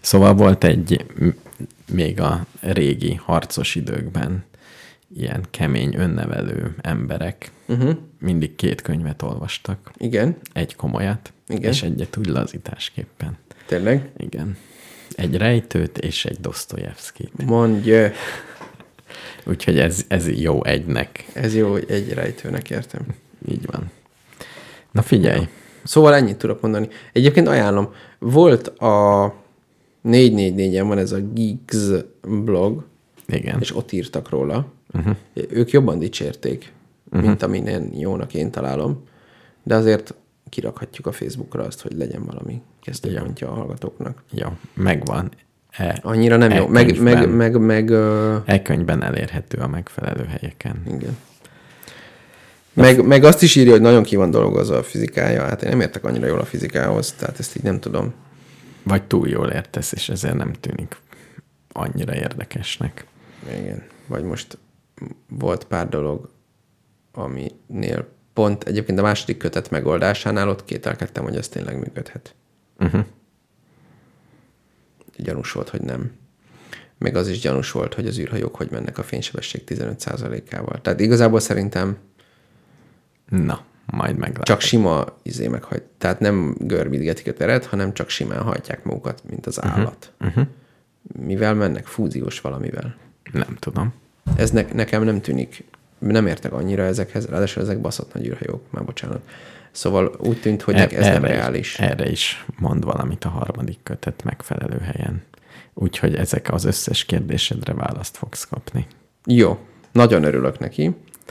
Szóval volt egy, m- még a régi harcos időkben ilyen kemény, önnevelő emberek uh-huh. mindig két könyvet olvastak. Mhm. igen, Egy komolyat, Igen. és egyet úgy lazításképpen. tényleg. Igen. Egy rejtőt és egy Dostoyevskit. Mondj, Úgyhogy ez, ez jó egynek. ez jó, hogy egy rejtőnek értem. Így van. Na figyelj, Szóval ennyit tudok mondani. Egyébként ajánlom, volt a 444-en van ez a Geeks blog, igen. és ott írtak róla. Uh-huh. Ők jobban dicsérték, uh-huh. mint amin én jónak én találom, de azért kirakhatjuk a Facebookra azt, hogy legyen valami kezdőpontja a hallgatóknak. Jó, megvan. E, Annyira nem jó. Meg, meg, E-könyvben. meg, meg, ö, e könyvben elérhető a megfelelő helyeken. igen. Meg, meg azt is írja, hogy nagyon ki van dolgozva a fizikája. Hát én nem értek annyira jól a fizikához, tehát ezt így nem tudom. Vagy túl jól értesz, és ezért nem tűnik annyira érdekesnek. Igen. Vagy most volt pár dolog, aminél pont egyébként a második kötet megoldásánál ott kételkedtem, hogy ez tényleg működhet. Uh-huh. Gyanús volt, hogy nem. Meg az is gyanús volt, hogy az űrhajók hogy mennek a fénysebesség 15%-ával. Tehát igazából szerintem Na, majd meglátjuk. csak sima izé meghagy. Tehát nem görbítgetik a teret, hanem csak simán hajtják magukat, mint az állat. Mhm. Uh-huh. Mivel mennek? Fúziós valamivel. Nem tudom. Ez ne, nekem nem tűnik, nem értek annyira ezekhez, ráadásul ezek baszott nagy űrhajók, már bocsánat. Szóval úgy tűnt, hogy E- ez nem is- reális. Erre is mond valamit a harmadik kötet megfelelő helyen. Úgyhogy ezek az összes kérdésedre választ fogsz kapni. Jó, nagyon örülök neki,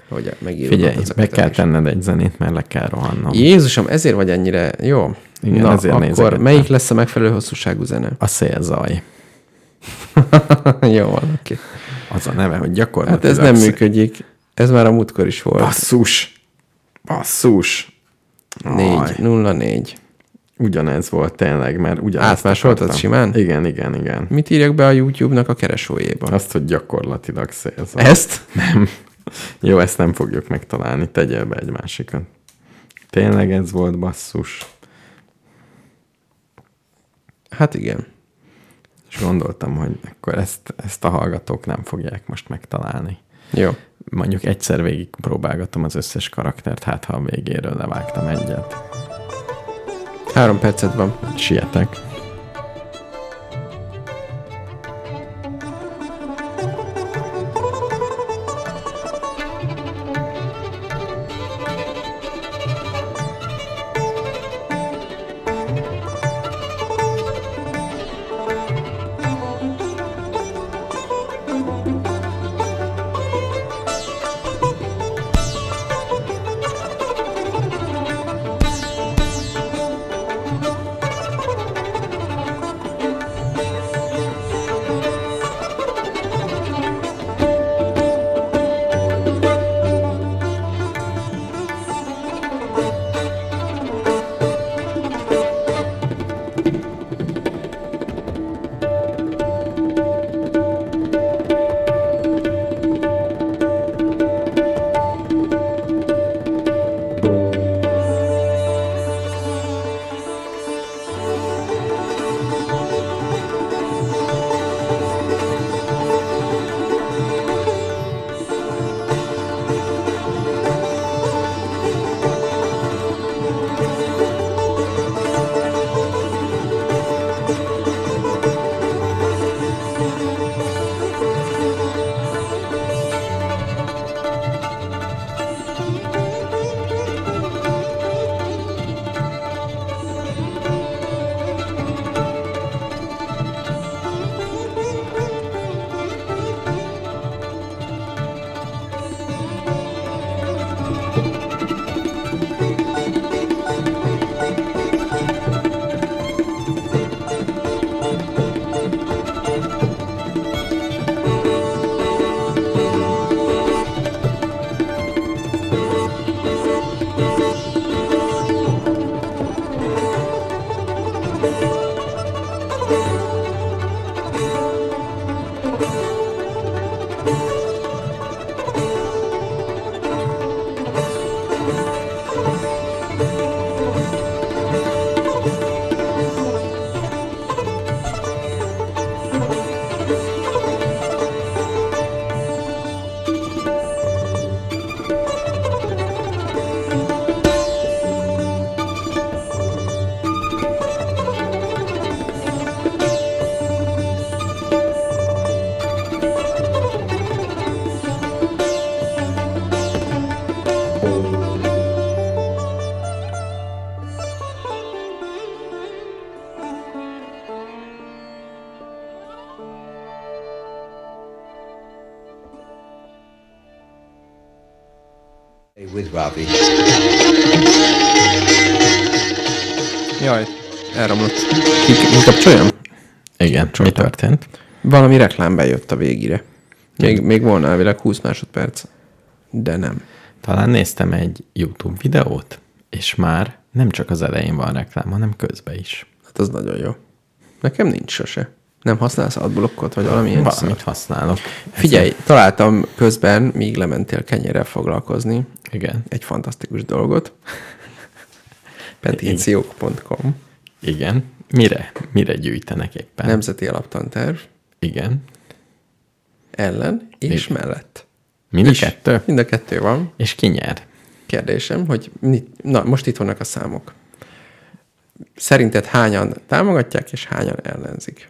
hogy Figyelj, megírodott ez hát a be kell kötet is. tenned egy zenét, mert le kell rohannom. Jézusom, ezért vagy ennyire jó. Igen, Na, ezért akkor nézegettem. melyik lesz a megfelelő hosszúságú [LAUGHS] zene? A szélzaj. jó, van, oké. Az a neve, hogy Hát gyakorlatilag... ez nem szé- működik. Ez már a múltkor is volt. Basszus! Basszus! Aj. 404. Ugyanez volt tényleg, mert ugyanaz. Átmásoltad simán? Igen, igen, igen. Mit írjak be a YouTube-nak a keresőjéba? Azt, hogy gyakorlatilag szélzaj. Ezt? Nem. Jó, ezt nem fogjuk megtalálni. Tegyél be egy másikat. Tényleg ez volt basszus. Hát igen. És gondoltam, hogy akkor ezt, ezt a hallgatók nem fogják most megtalálni. Jó. Mondjuk egyszer végig próbálgatom az összes karaktert, hát ha a végéről levágtam egyet. Hát Három percet van. Sietek. with Ravi. Jaj, elromlott. Ki- Kikapcsoljam? Igen, mi történt? Valami reklám bejött a végére. Még, még volna elvileg 20 másodperc, de nem. Talán néztem egy YouTube videót, és már nem csak az elején van reklám, hanem közben is. Hát az nagyon jó. Nekem nincs sose. Nem használsz adblockot, vagy valamilyen Valamit szart? használok. Figyelj, találtam közben, míg lementél kenyérrel foglalkozni, Igen. egy fantasztikus [LAUGHS] dolgot. Petíciók.com Igen. Mire? Mire gyűjtenek éppen? Nemzeti Alaptanterv Igen. ellen és Igen. mellett. Mind a kettő? Mind a kettő van. És ki nyer? Kérdésem, hogy mit- na, most itt vannak a számok. Szerinted hányan támogatják, és hányan ellenzik?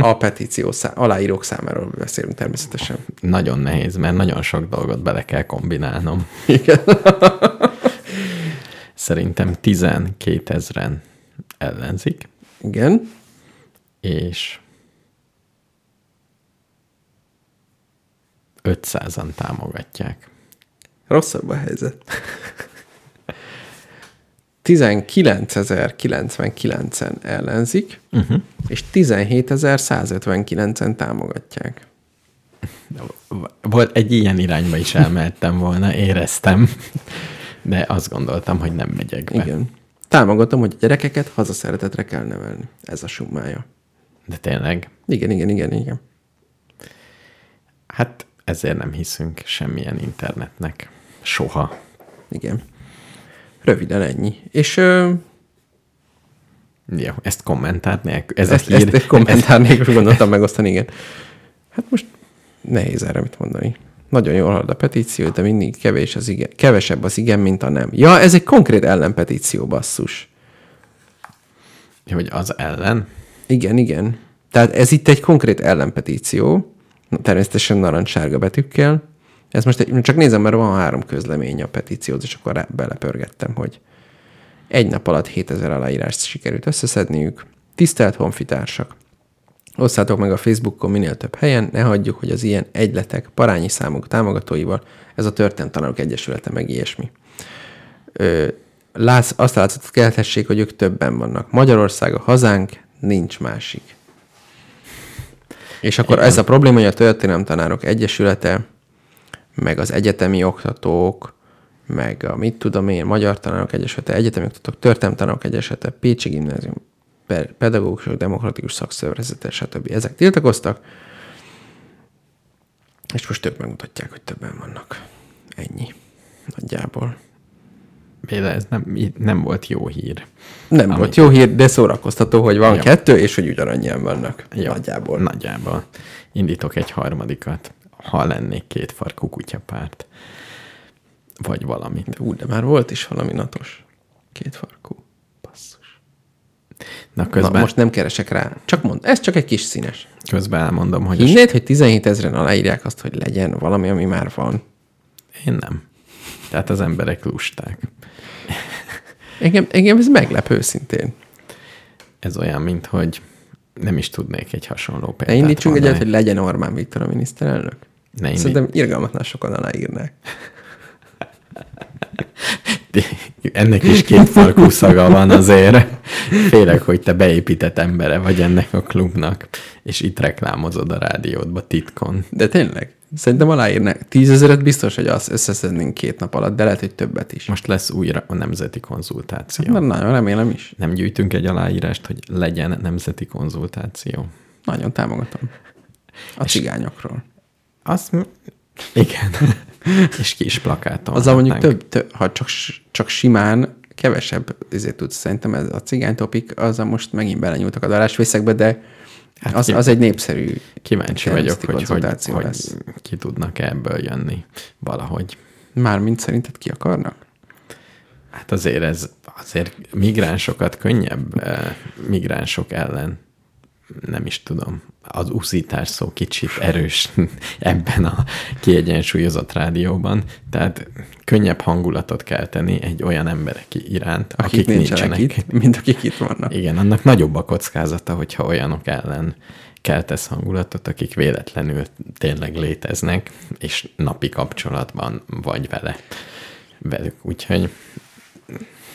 A petíció szá- aláírók számáról beszélünk természetesen. Nagyon nehéz, mert nagyon sok dolgot bele kell kombinálnom. Igen. Szerintem 12 ezeren ellenzik, Igen. és 500-an támogatják. Rosszabb a helyzet. [LAUGHS] 19.099-en ellenzik, uh-huh. és 17.159-en támogatják. Volt egy ilyen irányba is elmehettem volna, éreztem, de azt gondoltam, hogy nem megyek be. Igen. Támogatom, hogy a gyerekeket hazaszeretetre kell nevelni. Ez a summája. De tényleg, Igen, igen, igen, igen. hát ezért nem hiszünk semmilyen internetnek. Soha. Igen. Röviden ennyi. És ö, Jó, ezt kommentált nélkül. Ez ezt, a hír, ezt egy kommentár nélkül gondoltam megosztani, igen. Hát most nehéz erre mit mondani. Nagyon jól halad a petíció, de mindig kevés az igen, kevesebb az igen, mint a nem. Ja, ez egy konkrét ellenpetíció, basszus. hogy az ellen. Igen, igen. Tehát ez itt egy konkrét ellenpetíció, Na, természetesen narancssárga betűkkel. Ez most egy, csak nézem, mert van három közlemény a petícióhoz, és akkor rá- belepörgettem, hogy egy nap alatt 7000 aláírást sikerült összeszedniük. Tisztelt honfitársak! Osszátok meg a Facebookon minél több helyen, ne hagyjuk, hogy az ilyen egyletek, parányi számok támogatóival, ez a Történet Tanárok Egyesülete meg ilyesmi. Ö, látsz, azt a látszatot kelthessék, hogy ők többen vannak. Magyarország a hazánk, nincs másik. És akkor Igen. ez a probléma, hogy a Történelem Tanárok Egyesülete, meg az egyetemi oktatók, meg a mit tudom én, Magyar Tanárok Egyesülete, Egyetemi Oktatók, Történelem Tanárok Egyesülete, Pécsi Gimnázium, Pe- Pedagógusok, Demokratikus Szakszervezete, stb. Ezek tiltakoztak, és most ők megmutatják, hogy többen vannak. Ennyi. Nagyjából. Béla, ez nem, nem volt jó hír. Nem Ami... volt jó hír, de szórakoztató, hogy van Jó. ja. kettő, és hogy ugyanannyian vannak. Jó. Ja. Nagyjából. Nagyjából. Indítok egy harmadikat, ha lennék két farkú kutyapárt. Vagy valamit. Ú, de már volt is valami natos. Két farkú. Basszus. Na Közben... közben, Na, most nem keresek rá. Csak mond, ez csak egy kis színes. közben elmondom, hogy a Hinnéd, hogy 17 ezeren aláírják azt, hogy legyen valami, ami már van. Én nem. Tehát az emberek lusták. Engem, engem ez meglep őszintén. Ez olyan, mint hogy nem is tudnék egy hasonló Ne példát indítsunk egyet, mondani. hogy legyen Orbán Viktor a miniszterelnök. Ne indi- Szerintem irgalmatlan sokan aláírnák. Ennek is két farkú szaga van azért. Félek, hogy te beépített embere vagy ennek a klubnak, és itt reklámozod a rádiódba titkon. De tényleg, szerintem aláírnák. Tízezeret biztos, hogy azt összeszednénk két nap alatt, de lehet, hogy többet is. Most lesz újra a nemzeti konzultáció. Na, nagyon remélem is. Nem gyűjtünk egy aláírást, hogy legyen nemzeti konzultáció. Nagyon támogatom. A cigányokról. Azt... m- Igen. [LAUGHS] és kis plakáton. Azzal mondjuk látnánk. több, több ha csak, s- csak simán kevesebb, ezért tudsz, szerintem ez a cigány topik, azzal most megint belenyúltak a darásvészekbe, de Hát az, ki- az egy népszerű. Kíváncsi vagyok, természeti hogy, hogy, konzultáció hogy lesz. ki tudnak ebből jönni valahogy. Mármint szerinted ki akarnak? Hát azért ez, azért migránsokat könnyebb eh, migránsok ellen, nem is tudom, az uszítás szó kicsit erős [LAUGHS] ebben a kiegyensúlyozott rádióban, tehát könnyebb hangulatot kell tenni egy olyan emberek iránt, akik, Akik, akik nincsenek. nincsenek. itt, mint akik itt vannak. Igen, annak nagyobb a kockázata, hogyha olyanok ellen keltesz hangulatot, akik véletlenül tényleg léteznek, és napi kapcsolatban vagy vele. velük, úgyhogy,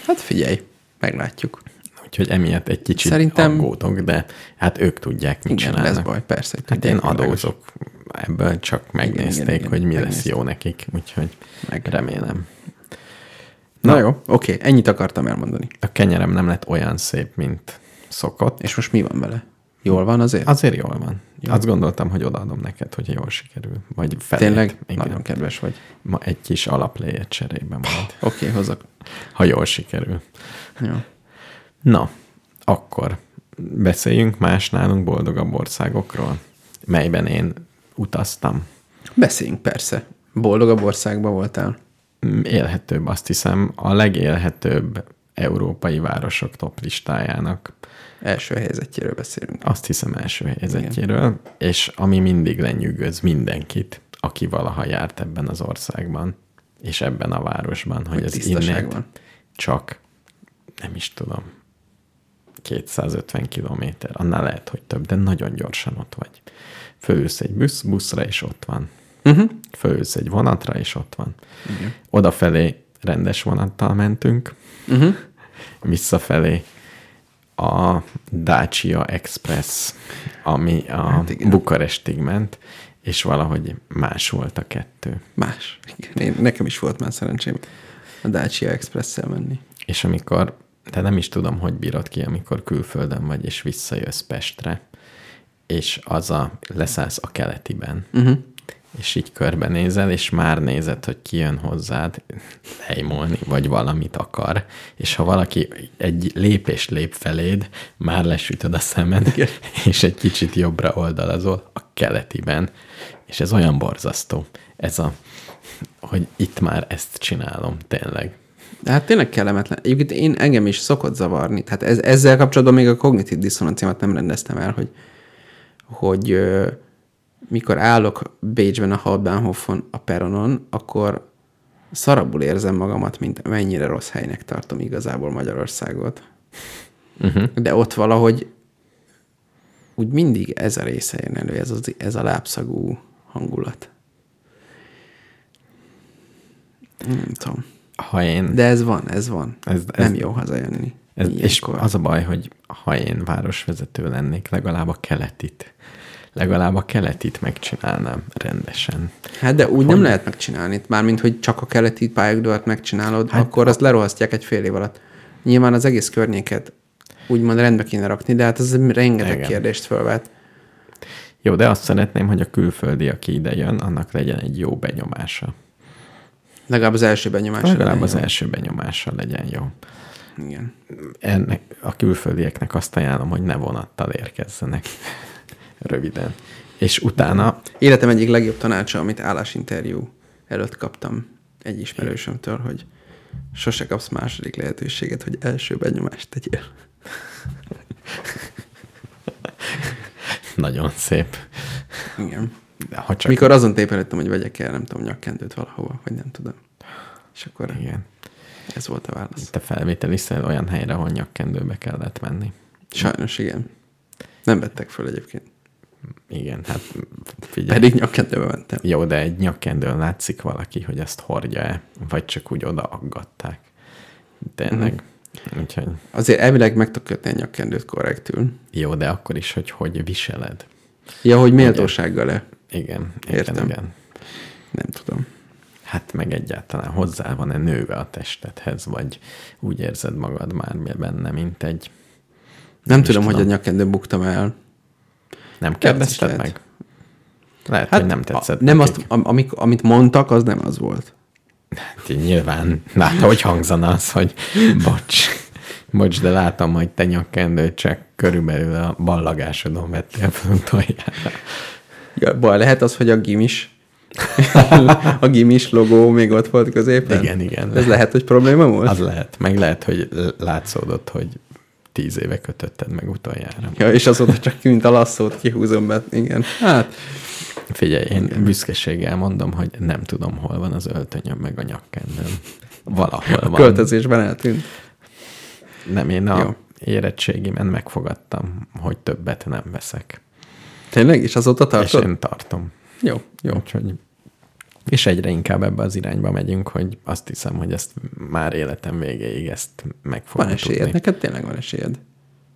Hát figyelj, meglátjuk. úgyhogy emiatt egy kicsit Szerintem- Szerintem... aggódok, de hát ők tudják, mit Igen, lesz csinálnak. baj, persze. hogy Hát én tudják, adózok ebből, csak megnézték, igen, igen, hogy mi lesz megnézték. jó nekik, úgyhogy Meg. meg. remélem. Na, Na jó, oké, ennyit akartam elmondani. A kenyerem nem lett olyan szép, mint szokott. És most mi van vele? Jól van azért? Azért jól van. Azt gondoltam, hogy odaadom neked, hogy jól sikerül. Vagy felét. Tényleg? Igen. Nagyon kedves vagy. Ma egy kis alapléjét cserébe majd, Oké, hozok. ha jól sikerül. Jó. Na, akkor beszéljünk más nálunk boldogabb országokról, melyben én utaztam. Beszéljünk persze. Boldogabb országban voltál. Mm, Élhetőbb, azt hiszem, a legélhetőbb európai városok top listájának Első helyzetjéről beszélünk. azt hiszem első helyzetjéről, Igen. és ami mindig lenyűgöz mindenkit, aki valaha járt ebben az országban, és ebben a városban, hogy, Hogy hogy az tisztaság innét van. csak, nem is tudom, 250 kilométer, annál lehet, hogy több, de nagyon gyorsan ott vagy. Fölülsz egy busz, buszra, és ott van. Uh-huh. Fölülsz egy vonatra, és ott van. Igen. Odafelé rendes vonattal mentünk, Uh-huh. visszafelé a Dacia Express, ami a Hát hát igen. Bukarestig ment, és valahogy más volt a kettő. Más. Igen, én, nekem is volt már szerencsém a Dacia Express-szel menni. És amikor, de nem is tudom, hogy bírod ki, amikor külföldön vagy, és visszajössz Pestre, és az a, leszállsz a keletiben, Uh-huh. és így körbenézel, és már nézed, hogy ki jön hozzád lejmolni, vagy valamit akar, és ha valaki egy lépést lép feléd, már lesütöd a szemed, Igen. és egy kicsit jobbra oldalazol a keletiben, és ez olyan borzasztó, ez a, hogy itt már ezt csinálom, tényleg. De hát tényleg kellemetlen. Egyébként én engem is szokott zavarni. Tehát ez, ezzel kapcsolatban még a kognitív diszonanciámat nem rendeztem el, hogy, hogy ö, mikor állok Bécsben a Halbánhofon a peronon, akkor szarabul érzem magamat, mint mennyire rossz helynek tartom igazából Magyarországot. Uh-huh. De ott valahogy úgy mindig ez a része jön elő, ez, az, ez a lábszagú hangulat. Nem tudom. Ha én De ez van, ez van. Ez, Ez- ez, ez- nem jó hazajönni. Ez, és ilyenkor. az a baj, hogy ha én városvezető lennék, legalább a keletit. Legalább a keletit megcsinálnám rendesen. Hát de úgy nem lehet megcsinálni. Mármint, hogy csak a keleti pályaudvart megcsinálod, hát, akkor azt lerohasztják egy fél év alatt. Nyilván az egész környéket úgymond rendbe kéne rakni, de hát ez rengeteg Igen. kérdést fölvet. Jó, de azt szeretném, hogy a külföldi, aki ide jön, annak legyen egy jó benyomása. Legalább az első benyomás. Legalább elején. az első benyomása legyen jó. Igen. Ennek, a külföldieknek azt ajánlom, hogy ne vonattal érkezzenek. [LAUGHS] Röviden. És utána Életem egyik legjobb tanácsa, amit állásinterjú előtt kaptam egy ismerősömtől, hogy sose kapsz második lehetőséget, hogy első benyomást tegyél. nagyon szép. Igen. De Ha csak... Mikor azon tépelődtem, hogy vegyek el, nem tudom, nyakkendőt valahova, vagy nem tudom. És akkor Igen. ez volt a válasz. Te felvételiszel olyan helyre, ahol nyakkendőbe kellett menni. Sajnos igen. Nem vettek föl egyébként. Igen, hát figyelj. Pedig nyakkendőbe mentem. Jó, de egy nyakkendőn látszik valaki, hogy ezt hordja-e, vagy csak úgy oda aggatták. Tényleg. Mhm. Úgyhogy Azért elvileg meg tudok kötni a nyakkendőt korrektül. jó, de akkor is, hogy hogy viseled. Ja, hogy méltósággal-e? Igen, igen, Értem. Értem. igen. Nem tudom. Hát meg egyáltalán hozzá van-e nőve a testedhez, vagy úgy érzed magad már benne, mint egy... Nem is tudom, hogy a tudom. nyakendőn buktam el. Nem kérdezted lehet. meg? Lehet, hát, hogy nem tetszett. A, nem nekik. azt, am, amik, amit mondtak, az nem az volt. Hát így nyilván, na, hát hogy hangzana az, hogy bocs, bocs, de látom, hogy te nyakkendőt csak körülbelül a ballagásodon vettél fel utoljára. Ja, baj, lehet az, hogy a [LAUGHS] gimis a gimis logó még ott volt középen? Igen, igen. Ez lehet, hogy probléma volt? Az lehet, meg lehet, hogy l- látszódott, hogy tíz éve kötötted meg utoljára. Ja, és azóta csak ki, mint a lasszót kihúzom be. Igen. Hát, Figyelj, én büszkeséggel mondom, hogy nem tudom, hol van az öltönyöm, meg a nyakkendőm. Valahol a van. költözésben eltűnt. Nem, én a Jó. érettségimen megfogadtam, hogy többet nem veszek. Tényleg? És azóta És tartod? én tartom. Jó, jó. Úgyhogy És egyre inkább ebbe az irányba megyünk, hogy azt hiszem, hogy ezt már életem végéig ezt meg fogom Van esélyed, tudni. neked tényleg van esélyed.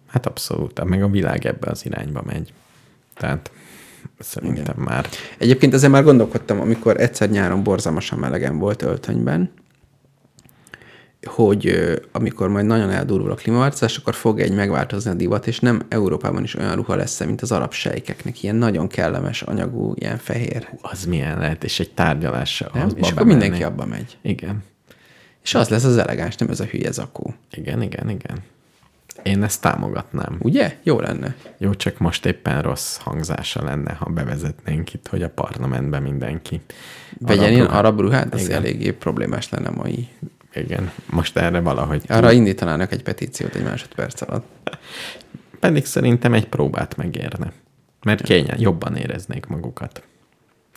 Hát abszolút, meg a világ ebbe az irányba megy. Tehát szerintem Igen. már. Egyébként ezzel már gondolkodtam, amikor egyszer nyáron borzalmasan melegen volt öltönyben, hogy ö, amikor majd nagyon eldurul a klímaváltozás, akkor fog egy megváltozni a divat, és nem Európában is olyan ruha lesz, mint az arab sejkeknek, ilyen nagyon kellemes anyagú, ilyen fehér. Az milyen lehet, és egy tárgyalással. Nem? És akkor mindenki abba megy. Igen. És az lesz az elegáns, nem ez a hülye zakó. Igen, igen, igen. Én ezt támogatnám. Ugye? Jó lenne. Jó, csak most éppen rossz hangzása lenne, ha bevezetnénk itt, hogy a parlamentben mindenki. Vegyen ilyen arab Arab ruhát- ruhát, az Igen. eléggé problémás lenne mai. Igen, most erre valahogy. Arra indítanának egy petíciót egy másodperc alatt. Pedig szerintem egy próbát megérne. Mert kényel, jobban éreznék magukat.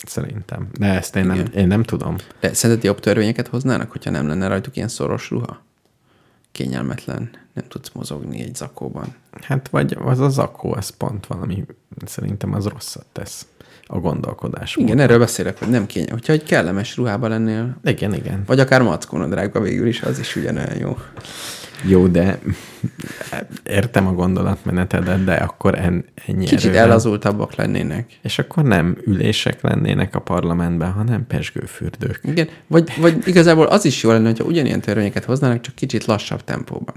Szerintem. De ezt én nem, Igen. én nem tudom. De szerinted jobb törvényeket hoznának, hogyha nem lenne rajtuk ilyen szoros ruha? Kényelmetlen, nem tudsz mozogni egy zakóban. Hát vagy az a zakó, az pont valami, szerintem az rosszat tesz a gondolkodás. Igen, erről beszélek, hogy nem kényelmes. Hogyha egy kellemes ruhában lennél, Igen, igen. vagy akár mackónadrágban végül is, az is ugyanolyan jó. Jó, de értem a gondolatmenetedet, de akkor en, ennyi Kicsit erővel- elazultabbak lennének. És akkor nem ülések lennének a parlamentben, hanem pesgőfürdők. Igen, vagy, vagy igazából az is jó lenne, hogyha ugyanilyen törvényeket hoznának, csak kicsit lassabb tempóban.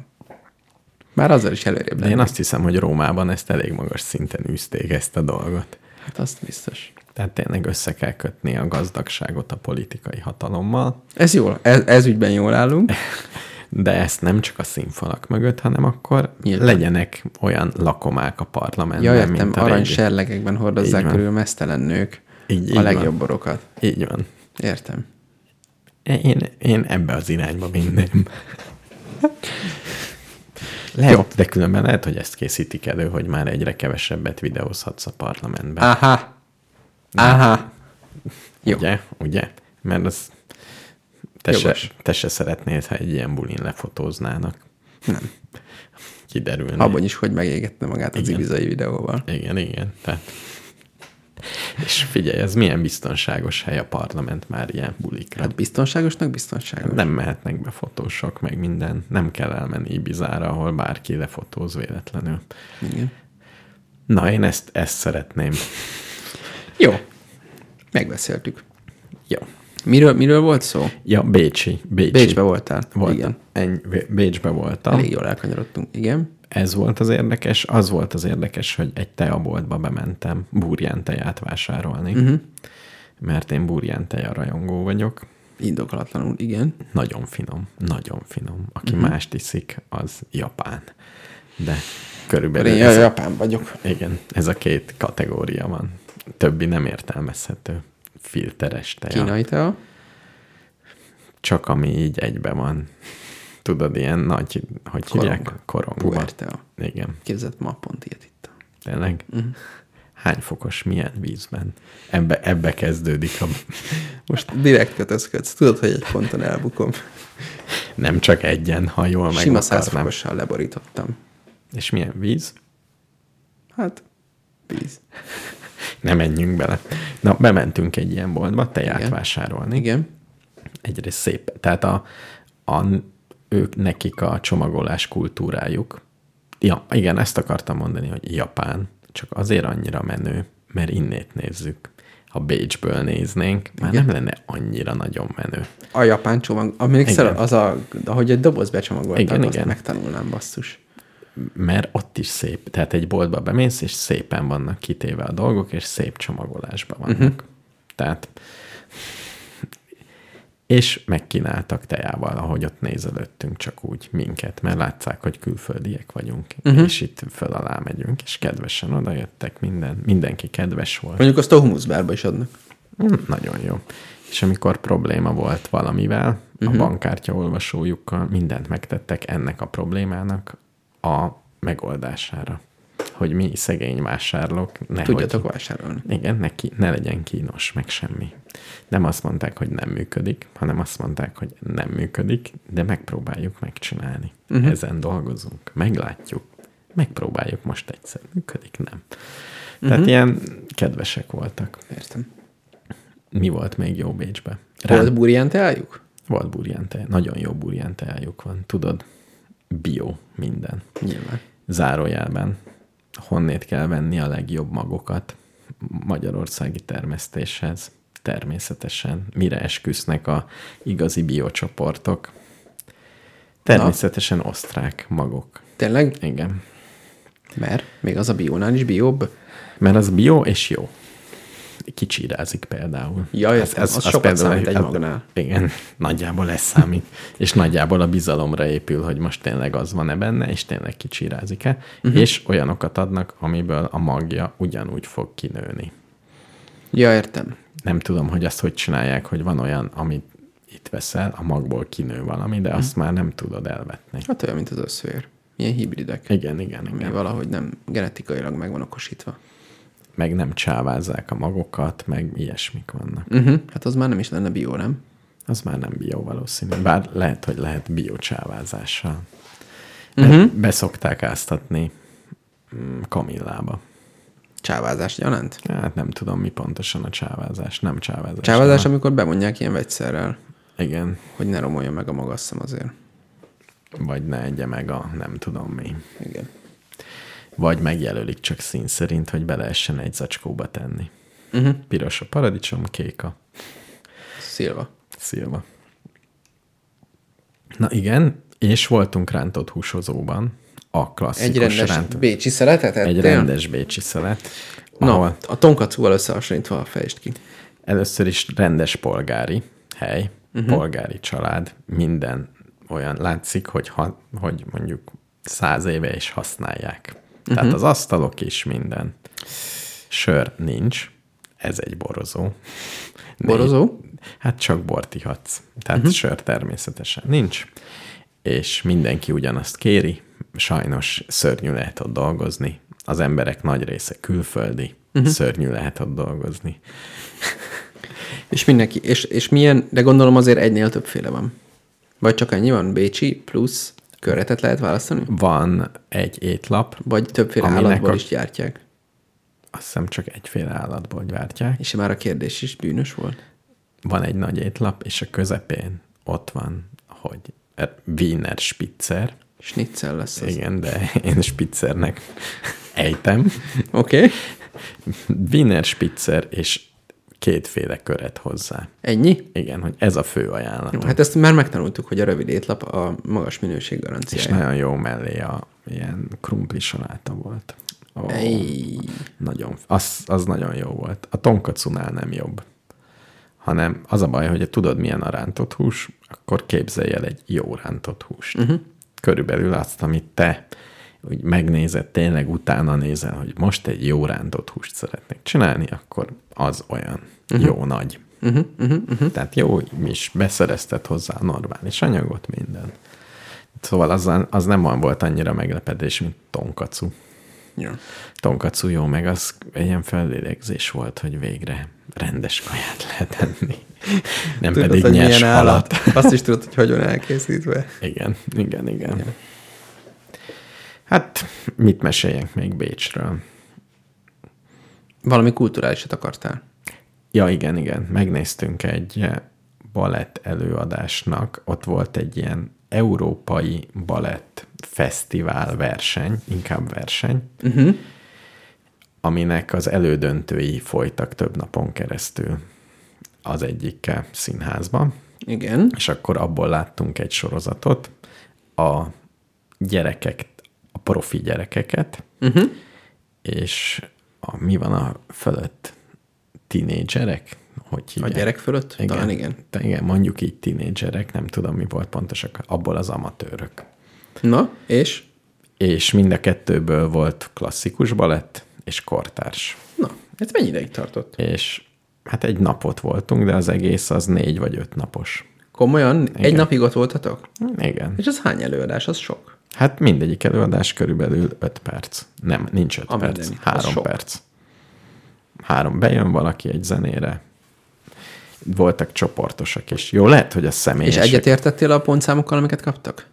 Már azzal is előrébb De lenne. én azt hiszem, hogy Rómában ezt elég magas szinten űzték ezt a dolgot. Hát azt biztos. Tehát tényleg össze kell kötni a gazdagságot a politikai hatalommal, Ez jól, ez, ez ügyben jól [LAUGHS] állunk. de ezt nem csak a színfalak mögött, hanem akkor Nyilván. Nyilván. legyenek olyan lakomák a parlamentben, Ja, értem, mint a arany régi. serlegekben hordozzák Így van. körül mesztelen nők Így- így a van. legjobb borokat. Így van. Értem. Én, én ebbe az irányba vinném. Lehet, Jó. de különben lehet, hogy ezt készítik elő, hogy már egyre kevesebbet videózhatsz a parlamentben. Aha. Aha. Jó. Ugye? Ugye? Mert az te se, Jogos. te se szeretnéd, ha egy ilyen bulin lefotóznának. Nem. Kiderülni. Abban is, hogy megégette magát az Igen. ibizai videóval. Igen, igen. Tehát... És figyelj, ez milyen biztonságos hely a parlament már ilyen bulikra. Hát biztonságosnak biztonságos. nem mehetnek be fotósok, meg minden. Nem kell elmenni Ibizára, ahol bárki lefotóz véletlenül. Igen. Na, én ezt, ezt szeretném. Jó. Megbeszéltük. Jó. Miről, miről volt szó? Ja, Bécsi. Bécsi. Bécsbe voltál. voltam. Igen. Ennyi, Bécsbe voltam. Elég jól elkanyarodtunk. Igen. ez volt az érdekes. Az volt az érdekes, hogy egy teaboltba bementem burján teját vásárolni, Mhm. uh-huh. mert én burján teja rajongó vagyok. Indokolatlanul, igen. Nagyon finom, nagyon finom. Aki uh-huh. mást iszik, az japán. De körülbelül Én ez, a, japán vagyok. igen, ez a két kategória van. Többi nem értelmezhető. Filteres teja. Kínai tea. Csak ami így egybe van. Tudod, ilyen nagy, hogy Korong. hívják? Korongba. Puer tea. Igen. Képzett ma pont ilyet itt. Tényleg? Mhm. Uh-huh. Hány fokos, milyen vízben? Ebbe, ebbe kezdődik a... Most direkt kötözködsz. Tudod, hogy egy ponton elbukom. Nem csak egyen, ha jól meg Sima százfokossal leborítottam. És milyen víz? Hát, víz. Nem menjünk bele. Na, bementünk egy ilyen boltba teját Igen. Igen. vásárolni. Igen. Egyrészt szép. Tehát a, a, ők, nekik a csomagolás kultúrájuk. Ja, igen, ezt akartam mondani, hogy Japán csak azért annyira menő, mert innét nézzük. Ha Bécsből néznénk, már Igen. nem lenne annyira nagyon menő. A japán csomag, amíg Igen. az a, ahogy egy doboz becsomagoltak, igen, Igen, azt igen. igen. megtanulnám basszus. mert ott is szép, tehát egy boltba bemész, és szépen vannak kitéve a dolgok, és szép csomagolásban vannak. Uh-huh. Tehát, és megkínáltak tejával, ahogy ott nézelődtünk csak úgy minket, mert látszák, hogy külföldiek vagyunk, uh-huh. és itt föl alá megyünk, és kedvesen odajöttek, minden, mindenki kedves volt. Mondjuk azt a humuszbárba is adnak. Mm, Nagyon jó. És amikor probléma volt valamivel, uh-huh. a bankkártya olvasójukkal mindent megtettek ennek a problémának a megoldására. Hogy mi szegény vásárlók, nehogy, Tudjatok vásárolni. igen, neki, ne legyen kínos, meg semmi. Nem azt mondták, hogy nem működik, hanem azt mondták, hogy nem működik, de megpróbáljuk megcsinálni. Uh-huh. Ezen dolgozunk, meglátjuk, megpróbáljuk most egyszer, működik, nem. Tehát uh-huh. ilyen kedvesek voltak Értem. mi volt még jó Bécsbe? Rá- Volt burján teájuk? Volt burjánteáj, nagyon jó burjánteájuk van, tudod, bio minden. Nyilván. Zárójelben, honnét kell venni a legjobb magokat magyarországi termesztéshez, természetesen, mire esküsznek a igazi biocsoportok. Természetesen osztrák magok. Tényleg? Igen. Mert még az a biónál is bióbb. Mert az bio és jó. Kicsirázik például. Hát Ja, értem, az sokat számít egy az- hát magnál. Igen, [LAUGHS] nagyjából ez számít. és nagyjából a bizalomra épül, hogy most tényleg az van-e benne, és tényleg kicsirázik-e. Mhm. Uh-huh. És olyanokat adnak, amiből a magja ugyanúgy fog kinőni. Ja, értem. Nem tudom, hogy azt hogy csinálják, hogy van olyan, amit itt veszel, a magból kinő valami, de azt Mhm. már nem tudod elvetni. Hát olyan, mint az összőér. Ilyen hibridek. Igen, igen, igen. Ami valahogy nem genetikailag meg van okosítva. Meg nem csávázzák a magokat, meg ilyesmik vannak. Uh-huh. Hát az már nem is lenne bió, nem? Az már nem bio valószínű. Bár lehet, hogy lehet biocsávázással. Mhm. Uh-huh. Beszokták áztatni mm, kamillába. Csávázás gyanánt. Hát nem tudom, mi pontosan a csávázás. Nem csávázás. Csávázás, hanem- amikor bemondják ilyen vegyszerrel, Igen. hogy ne romolja meg a magasszem azért. Vagy ne egye meg a nem tudom mi. Igen. Vagy megjelölik csak szín szerint, hogy be lehessen egy zacskóba tenni. Mhm. Uh-huh. Piros a paradicsom, kék a Szilva. szilva. Na igen, és voltunk rántott húsozóban. A klasszikus Egy rendes rántott... bécsi szeretet Egy ettél? rendes bécsi szelet. Na, Ahol a tonkacúval összehasonlítva a fejst ki. először is rendes polgári hely, Mhm. uh-huh. polgári család, minden olyan látszik, hogy, ha, hogy mondjuk száz éve is használják. Mhm. Tehát uh-huh. az asztalok is minden. Sör nincs, ez egy borozó. Borozó? Hát csak bort ihatsz. Tehát uh-huh. sör természetesen nincs. És mindenki ugyanazt kéri. Sajnos szörnyű lehet ott dolgozni. Az emberek nagy része külföldi. Uh-huh. Szörnyű lehet ott dolgozni. És mindenki. És, és milyen, de gondolom azért egynél többféle van. Vagy csak ennyi van? Bécsi plusz körretet lehet választani? Van egy étlap, Vagy többféle Aminek állatból a- is gyártják? azt hiszem csak egyféle állatból gyártják. És már a kérdés is bűnös volt. Van egy nagy étlap, és a közepén ott van, hogy e, Wiener Spitzer. Schnitzel lesz az. Igen, de én Spitzernek ejtem. Oké. Okay. Wiener Spitzer és kétféle köret hozzá. Ennyi? Igen, hogy ez a fő ajánlat. Jó, hát ezt már megtanultuk, hogy a rövid étlap a magas minőség és garanciája. nagyon jó mellé a ilyen krumpli saláta volt. Ó, Ej. nagyon, az, az nagyon jó volt. A tonkacunál nem jobb. Hanem az a baj, hogy tudod, milyen a rántott hús, akkor képzelj el egy jó rántott húst. Mhm. Uh-huh. Körülbelül azt, amit te úgy megnézed, tényleg utána nézel, hogy most egy jó rántott húst szeretnék csinálni, akkor az olyan Mhm. uh-huh. jó nagy. Uh-huh, uh-huh, uh-huh. Tehát jó, is beszerezted hozzá a normális anyagot, minden. Szóval az, az nem olyan volt annyira meglepedés, mint tonkacu. Ja. Tonkatsu jó, meg az egy ilyen fellélegzés volt, hogy végre rendes kaját [LAUGHS] lehet enni. Nem Tudod, pedig hogy nyers milyen állat. halat. [LAUGHS] Azt is tudod, hogy hogy van elkészítve. Igen, igen, igen. Hát, mit meséljek még Bécsről? Valami kulturálisat akartál. Ja, igen, igen. Megnéztünk egy eh, balett előadásnak. Ott volt egy ilyen európai balett fesztivál verseny, inkább verseny, uh-huh. Mhm. aminek az elődöntői folytak több napon keresztül az egyik színházban, Igen. és akkor abból láttunk egy sorozatot, a gyerekek, a profi gyerekeket, Uh-huh. és a, mi van a fölött? Tinédzserek? Hogy A hívják? gyerek fölött? Igen. Talán igen. Te- igen, mondjuk így tinédzserek, nem tudom mi volt pontosak, abból az amatőrök. Na, és? És mind a kettőből volt klasszikus balett és kortárs. Na, ez mennyi ideig tartott? És hát egy napot voltunk, de az egész az négy vagy öt napos. Komolyan? Igen. Egy napig ott voltatok? Igen. És az hány előadás? Az sok. Hát mindegyik előadás körülbelül 5 perc. Nem, nincs 5 A perc, mindenit, az 3 sok. perc. Három bejön valaki egy zenére. Voltak csoportosak is. Jó, lehet, hogy a személyes. És egyetértettél a pontszámokkal, amiket kaptak?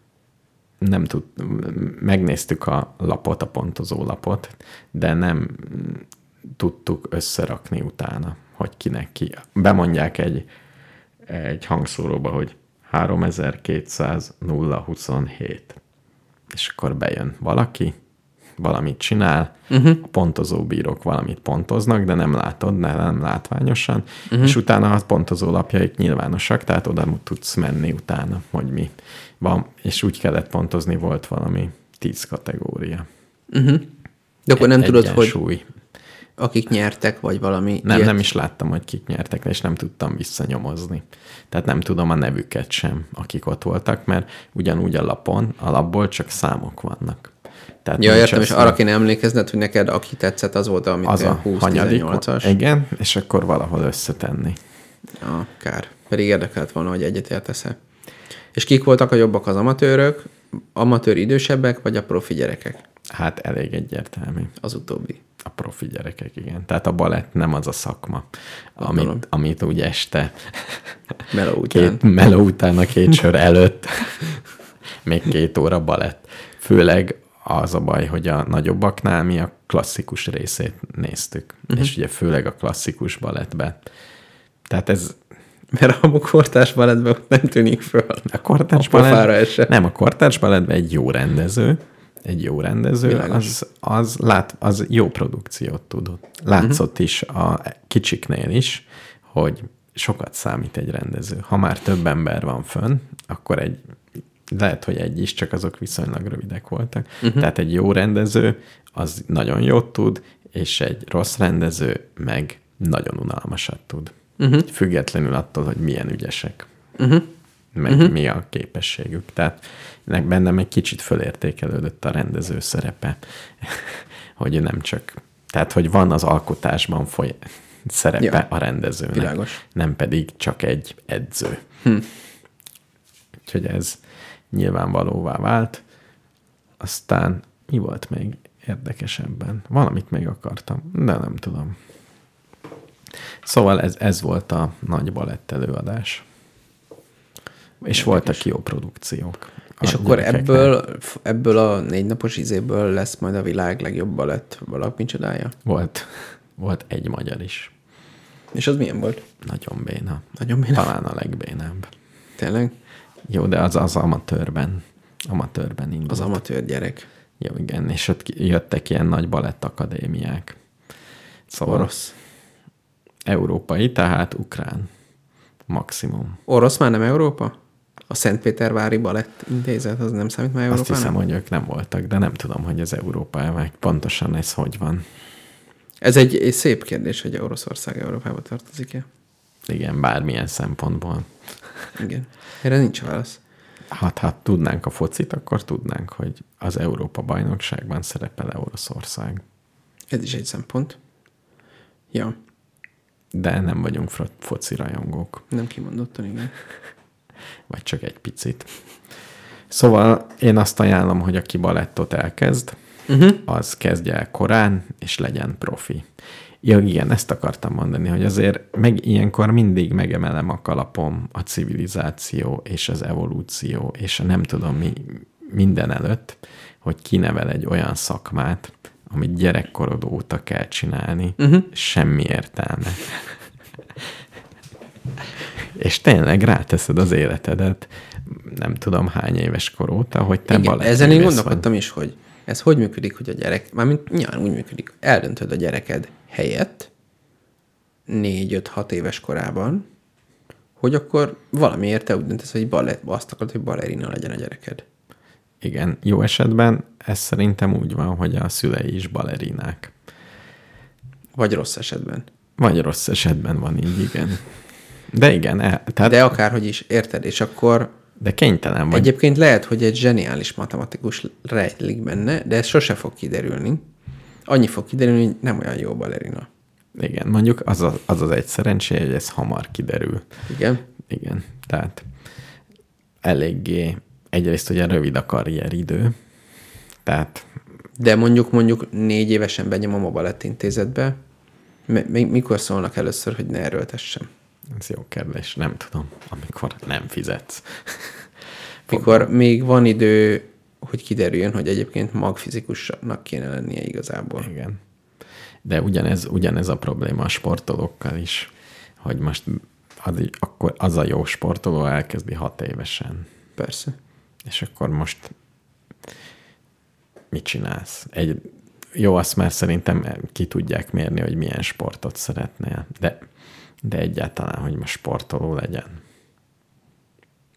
nem tud, megnéztük a lapot, a pontozó lapot, de nem tudtuk összerakni utána, hogy kinek ki. Bemondják egy, egy hangszóróba, hogy 3200 027. És akkor bejön valaki, valamit csinál, Mhm. uh-huh. a pontozó bírók valamit pontoznak, de nem látod, de nem látványosan, Mhm. uh-huh. és utána a pontozó lapjaik nyilvánosak, tehát oda tudsz menni utána, hogy mi van, és úgy kellett pontozni, volt valami tíz kategória. Uh-huh. De akkor Egy- nem tudod, hogy egyensúly. akik nyertek, vagy valami Nem, ilyet. nem is láttam, hogy kik nyertek, és nem tudtam visszanyomozni. Tehát nem tudom a nevüket sem, akik ott voltak, mert ugyanúgy a lapon, a lapból csak számok vannak. Tehát Ja, nincs értem, az, és arra kéne emlékezned, hogy neked aki tetszett, az volt, amit az a 20-18-as. hanyadik, Egy... igen, és akkor valahol összetenni. Ja, kár. Pedig érdekelt volna, hogy egyetértesz-e. És kik voltak a jobbak az amatőrök, amatőr idősebbek, vagy a profi gyerekek? Hát elég egyértelmű. Az utóbbi. A profi gyerekek, igen. Tehát a balett nem az a szakma, Gondolom. amit, amit úgy este Meló után. két Két. meló után, a két sör előtt, [LAUGHS] még két óra balett. Főleg az a baj, hogy a nagyobbaknál mi a klasszikus részét néztük. Uh-huh. És ugye főleg a klasszikus balettben. Tehát ez Mert a kortárs balettben ott nem tűnik föl. a kortárs A pofára balett, esett. nem, a kortárs balettben egy jó rendező, egy jó rendező, Világos. az, az, lát, az jó produkciót tudott. Látszott uh-huh. is a kicsiknél is, hogy sokat számít egy rendező. Ha már több ember van fönn, akkor egy lehet, hogy egy is, csak azok viszonylag rövidek voltak. Uh-huh. Tehát egy jó rendező az nagyon jót tud, és egy rossz rendező meg nagyon unalmasat tud. Uh-huh. Mhm. Függetlenül attól, hogy milyen ügyesek meg uh-huh. mi a képességük. Tehát nek- bennem egy kicsit fölértékelődött a rendező szerepe, [LAUGHS] hogy ő nem csak, tehát hogy van az alkotásban foly- szerepe ja. Ja. a rendezőnek, Világos. nem pedig csak egy edző. Hm. Úgyhogy ez nyilvánvalóvá vált. Aztán mi volt még érdekesebben? Valamit még akartam, de nem tudom. Szóval ez, ez volt a nagy balett előadás. És voltak jó produkciók. a És akkor gyerekeknek. ebből, f- ebből a négy napos izéből lesz majd a világ legjobb balett valami csodája. Volt, volt egy magyar is. És az milyen volt? Nagyon béna. Nagyon béna. Talán a legbénább. Tényleg? Jó, de az az amatőrben. Amatőrben indult. Az amatőr gyerek. Jó, igen, és ott ki- jöttek ilyen nagy balett akadémiák. Szóval Orosz. európai, tehát ukrán. Maximum. Orosz már nem Európa? A Szentpétervári Balett Intézet, az nem számít már Azt Európának? hiszem, hogy ők nem voltak, de nem tudom, hogy az Európában pontosan ez hogy van. Ez egy, egy szép kérdés, hogy Oroszország Európába tartozik-e. Igen, bármilyen szempontból. Igen. Erre nincs válasz. Hát, ha tudnánk a focit, akkor tudnánk, hogy az Európa bajnokságban szerepel Oroszország. Ez is egy szempont. Ja, De nem vagyunk fro- foci rajongók, nem kimondottan, igen. vagy csak egy picit. Szóval én azt ajánlom, hogy aki balettot elkezd, Uh-huh. Mm-hmm. az kezdje el korán, és legyen profi. Ja, igen, ezt akartam mondani, hogy azért meg ilyenkor mindig megemelem a kalapom a civilizáció és az evolúció, és a nem tudom mi minden előtt, hogy kinevel egy olyan szakmát, amit gyerekkorod óta kell csinálni, Mm-hmm. uh-huh. semmi értelme. [LAUGHS] és tényleg ráteszed az életedet, nem tudom hány éves kor óta, hogy te igen. balettművész Ezen én vagy. gondolkodtam is, hogy ez hogy működik, hogy a gyerek, mármint nyilván úgy működik, eldöntöd a gyereked helyett, 4-5-6 éves korában, hogy akkor valamiért te úgy döntesz, hogy balett, azt akarod, hogy balerina legyen a gyereked. Igen, jó esetben ez szerintem úgy van, hogy a szülei is balerinák. Vagy rossz esetben. Vagy rossz esetben van így, igen. De igen, el, tehát de, De akárhogy is, érted? És akkor de kénytelen vagy. Vagy... Egyéb... Egyébként lehet, hogy egy zseniális matematikus rejtlik benne, de ez sose fog kiderülni. Annyi fog kiderülni, hogy nem olyan jó balerina. Igen, mondjuk az, a, az az egy szerencséje, hogy ez hamar kiderül. Igen? Igen, tehát eléggé egyrészt ugye rövid a karrieridő, tehát De mondjuk mondjuk négy évesen benyomom a balettintézetbe, mi- mi- mikor szólnak először, hogy ne erőltessem? ez jó kérdés, nem tudom, amikor nem fizetsz. Mikor még van idő, hogy kiderüljön, hogy egyébként magfizikusnak kéne lennie igazából. Igen. De ugyanez, ugyanez a probléma a sportolókkal is, hogy most az, így- akkor az a jó sportoló elkezdi hat évesen. Persze. És akkor most mit csinálsz? Egy, jó, azt már szerintem ki tudják mérni, hogy milyen sportot szeretnél, de, de egyáltalán, hogy most sportoló legyen.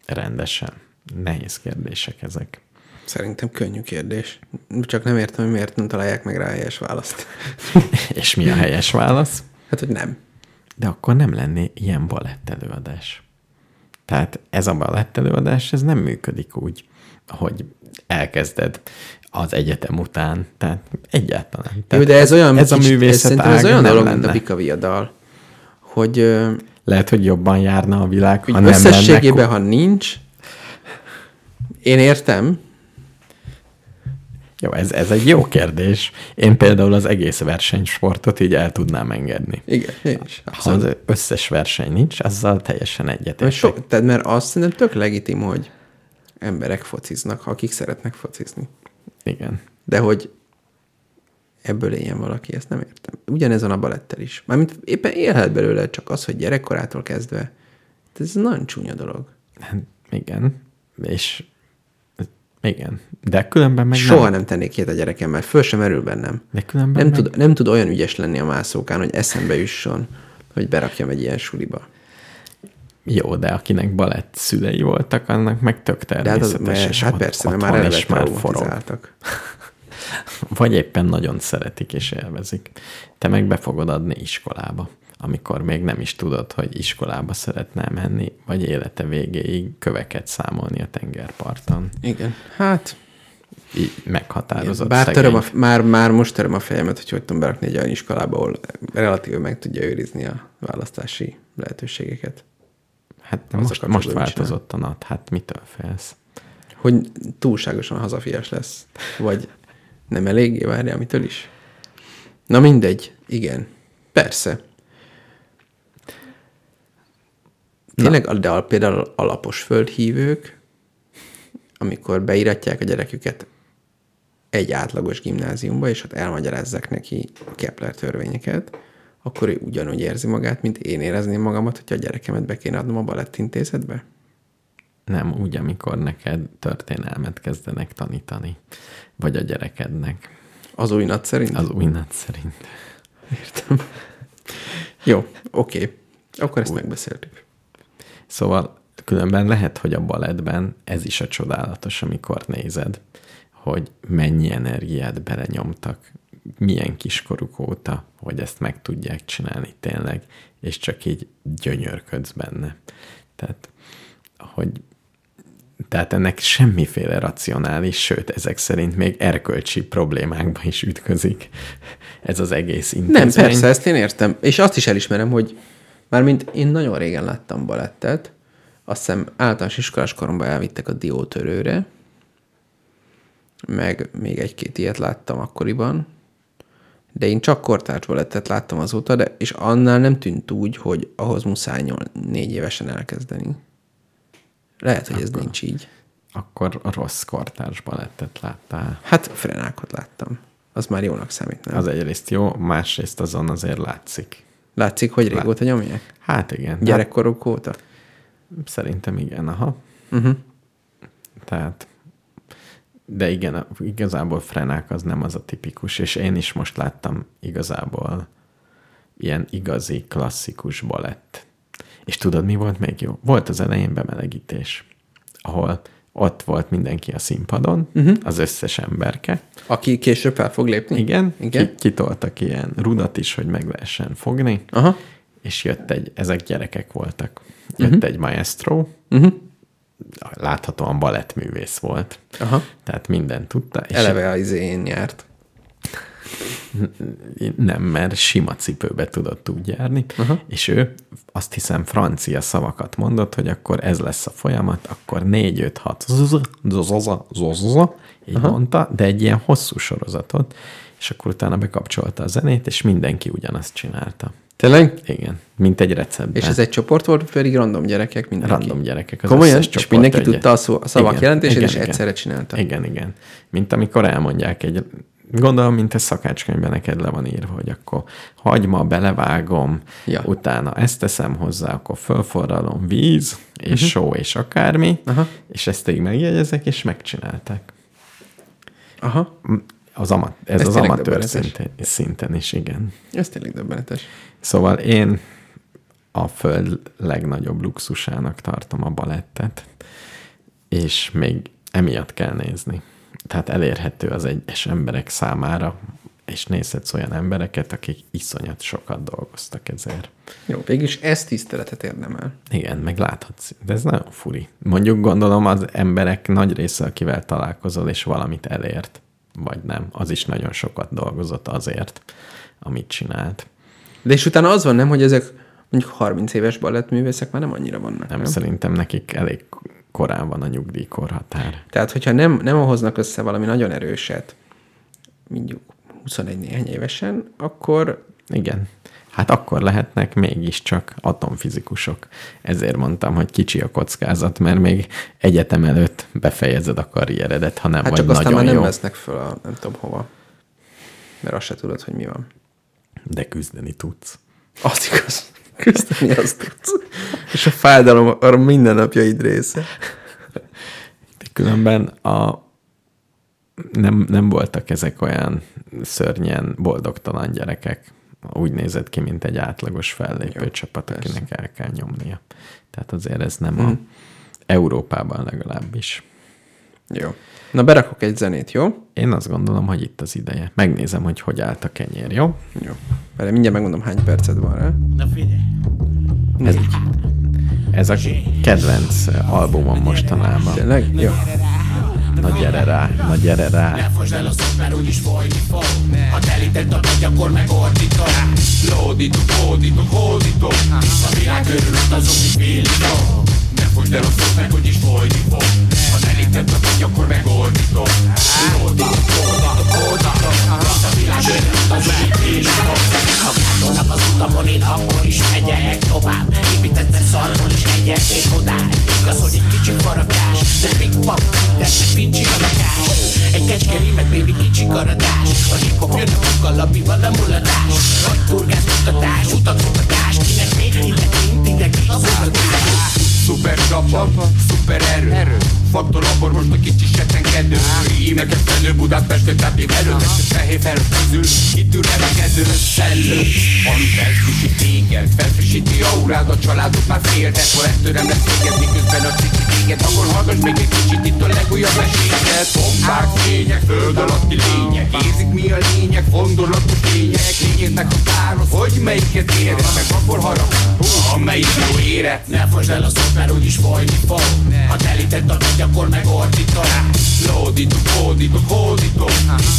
Rendesen. Nehéz kérdések ezek. [LAUGHS] Szerintem könnyű kérdés. Csak nem értem, hogy miért nem találják meg rá a helyes [LAUGHS] választ. És mi a helyes válasz? Hát, hogy nem. De akkor nem lenné ilyen balett előadás. Tehát ez a balett előadás, ez nem működik úgy, hogy elkezded az egyetem után. Tehát egyáltalán. Jó, Tehát de ez olyan, ez a kicsit- művészet szerintem ez ága olyan nem dolog, mint a lenne. Bika viadal, hogy ö, Lehet, hogy jobban járna a világ, úgy ha nem lenne összességében, ko- ha nincs, én értem, Jó, ez, ez egy jó kérdés. Én például az egész versenysportot így el tudnám engedni. igen, én is. Ha abszolút. az összes verseny nincs, azzal teljesen egyetértek. Mert, so, tehát, mert azt szerintem tök legitim, hogy emberek fociznak, akik szeretnek focizni. Igen. De hogy ebből éljen valaki, ezt nem értem. Ugyanez van a balettel is. Mármint éppen élhet belőle, csak az, hogy gyerekkorától kezdve. Ez nagyon csúnya dolog. Hát, igen. És igen. De különben meg Meg Soha nem. nem tennék ilyet a gyerekemmel, föl sem merül bennem. De különben Nem meg- tud, nem tud olyan ügyes lenni a mászókán, hogy eszembe jusson, hogy berakjam egy ilyen suliba. Jó, de akinek balett szülei voltak, annak meg tök De hát, az, természetes. mert, és hát ott- persze, mert ott már van, eleve és már forog. traumatizáltak. Vagy éppen nagyon szeretik és élvezik. Te meg be fogod adni iskolába, amikor még nem is tudod, hogy iskolába szeretnál menni, vagy élete végéig köveket számolni a tengerparton. Igen. Hát, Így meghatározott bár szegény. töröm a, már, már most töröm a fejemet, hogy hogy tudom berakni egy olyan iskolába, ahol relatíve meg tudja őrizni a választási lehetőségeket. Hát azzal most, most kapcsolatban mit változott a nat, hát mitől félsz? Hogy túlságosan hazafias lesz, vagy nem eléggé várja, amitől is. Na mindegy, igen. Persze. Tényleg, de al- például alapos földhívők, amikor beiratják a gyereküket egy átlagos gimnáziumba, és ott elmagyarázzák neki a Kepler törvényeket, akkor ő ugyanúgy érzi magát, mint én érezném magamat, hogyha a gyerekemet be kéne adnom a balettintézetbe. Nem úgy, amikor neked történelmet kezdenek tanítani, vagy a gyerekednek. Az új nagy szerint? Az új nat szerint. Értem. Jó, oké. Akkor ezt megbeszéltük. Szóval különben lehet, hogy a balettben ez is a csodálatos, amikor nézed, hogy mennyi energiát belenyomtak, milyen kiskoruk óta, hogy ezt meg tudják csinálni tényleg, és csak így gyönyörködsz benne. Tehát, hogy tehát ennek semmiféle racionális, sőt, ezek szerint még erkölcsi problémákba is ütközik ez az egész intézmény. Nem, persze, ezt én értem. És azt is elismerem, hogy mármint én nagyon régen láttam balettet, azt hiszem általános iskolás koromban elvittek a diótörőre, meg még egy-két ilyet láttam akkoriban, de én csak kortárs balettet láttam azóta, de, és annál nem tűnt úgy, hogy ahhoz muszáj nyol, négy évesen elkezdeni. Lehet, hogy ez nincs így. Akkor a rossz kortárs balettet láttál. Hát frenákot láttam. Az már jónak számít, nem? Az egyrészt jó, másrészt azon azért látszik. Látszik, hogy régóta nyomják? Hát igen. Gyerekkorok óta? Hát szerintem igen, aha. Uh-huh. Tehát, de igen, a- igazából frenák az nem az a tipikus, és én is most láttam igazából ilyen igazi klasszikus balett. És tudod, mi volt még jó? Volt az elején bemelegítés, ahol ott volt mindenki a színpadon, Mhm. uh-huh. az összes emberke, Aki később fel fog lépni? Igen, Igen. Ki, kitoltak ilyen rudat is, hogy meg lehessen fogni, Aha. és jött egy, ezek gyerekek voltak. Jött Mhm. uh-huh. egy maestro, Uh-huh. láthatóan balettművész volt, Aha. tehát mindent tudta. És Eleve az én járt. Nem, mert sima cipőbe tudott úgy járni, Aha. és ő azt hiszem francia szavakat mondott, hogy akkor ez lesz a folyamat, akkor 4, 5, 6, zoza, zoza, zoza, így Aha. mondta, de egy ilyen hosszú sorozatot, és akkor utána bekapcsolta a zenét, és mindenki ugyanazt csinálta. Tényleg? Igen, mint egy receptben. És ez egy csoport volt, vagy pedig random gyerekek mindenki. Hát. random gyerekek. Az Komolyan? összes És csoport mindenki egyet. tudta a, szó, a szavak Igen, jelentését, igen, és igen. egyszerre csinálta. Igen, igen. Mint amikor elmondják egy Gondolom, mint a szakácskönyvben neked le van írva, hogy akkor hagyma, belevágom, Ja. ja. utána ezt teszem hozzá, akkor fölforralom víz, és uh-huh. só, és akármi, Mhm. Aha. és ezt így megjegyezek, és megcsinálták. Aha, Az ama- ez, Ez ez az tényleg amatőr döbbenetes. szinten, szinten is, igen. ez tényleg döbbenetes. Szóval én a föld legnagyobb luxusának tartom a balettet, és még emiatt kell nézni. Tehát elérhető az egyes emberek számára, és nézhetsz olyan embereket, akik iszonyat sokat dolgoztak ezért. Jó, végülis ez tiszteletet érdemel. Igen, meg láthatsz. De ez nagyon furi. Mondjuk gondolom az emberek nagy része, akivel találkozol, és valamit elért, vagy nem, az is nagyon sokat dolgozott azért, amit csinált. De és utána az van, nem, hogy ezek mondjuk 30 éves balettművészek már nem annyira vannak. Nem, szerintem nekik elég korán van a nyugdíjkorhatár. Tehát, hogyha nem, nem hoznak össze valami nagyon erőset, mondjuk 21 néhány évesen, akkor Igen. Hát akkor lehetnek mégiscsak atomfizikusok. Ezért mondtam, hogy kicsi a kockázat, mert még egyetem előtt befejezed a karrieredet, ha nem hát vagy csak aztán nagyon már nem jó. vesznek föl a nem tudom hova. Mert azt se tudod, hogy mi van. De küzdeni tudsz. [LAUGHS] Az igaz. Küzdeni azt tudsz. És a fájdalom arra mindennapjaid része. De különben a nem, nem voltak ezek olyan szörnyen boldogtalan gyerekek. Úgy nézett ki, mint egy átlagos fellépő Jó, Jó, csapat, persze. Hm. akinek el kell nyomnia. Tehát azért ez nem a Európában legalábbis. Jó. Na, berakok egy zenét, jó? Én azt gondolom, hogy itt az ideje. Megnézem, hogy hogy állt a kenyér, jó? Jó. Vele mindjárt megmondom, hány percet van rá. Na figyelj, Ez, ez a kedvenc albumom mostanában. Tényleg? Jó. Na gyere rá, na gyere rá. fosd el az ott, mert úgyis folyni fog Ha telített a vagy, akkor megordítom Lódítok, hódítok, hódítok A világ körülött azok, mi villitok Ne fosd el az ott, meg úgyis folyni fog Ha telített a vagy, akkor megordítom Lódítok, hódítok, hódítok A világ körülött azok, mi villitok Ha változnak az utamon, én akkor is megyek tovább Építettem szarból is megyek még odáig Igaz, hogy egy kicsi faragás De még pap, de se fincsi a lakás Egy kecske rímet, baby, kicsi karadás A hip-hop jön a kukalapival a mulatás Nagy turgás, mutatás, utat mutatás Kinek még, kinek mint, ide ki az utatás Szuper csapa, szuper erő, erő. Faktor labor most a kicsi settenkedő Rímeket felő Budát festő, tehát én előtt Testő fehér felfűző, kitű remekedő Szellő, ami felfrissít téged Felfrissíti aurád, a családot már féltek Ha ettől nem lesz téged, miközben a cici téged Akkor hallgass még egy kicsit itt a legújabb meséket Bombák, fények, föld alatti lények Nézik mi a lényeg, gondolatos lények Lényegnek a páros, hogy melyiket érez Meg akkor harap, hú, amelyik jó érett Ne fosd el az ott, mert úgyis folyni fog Ha telített a vagy, akkor megordítom Lódítok, hódítok, hódítok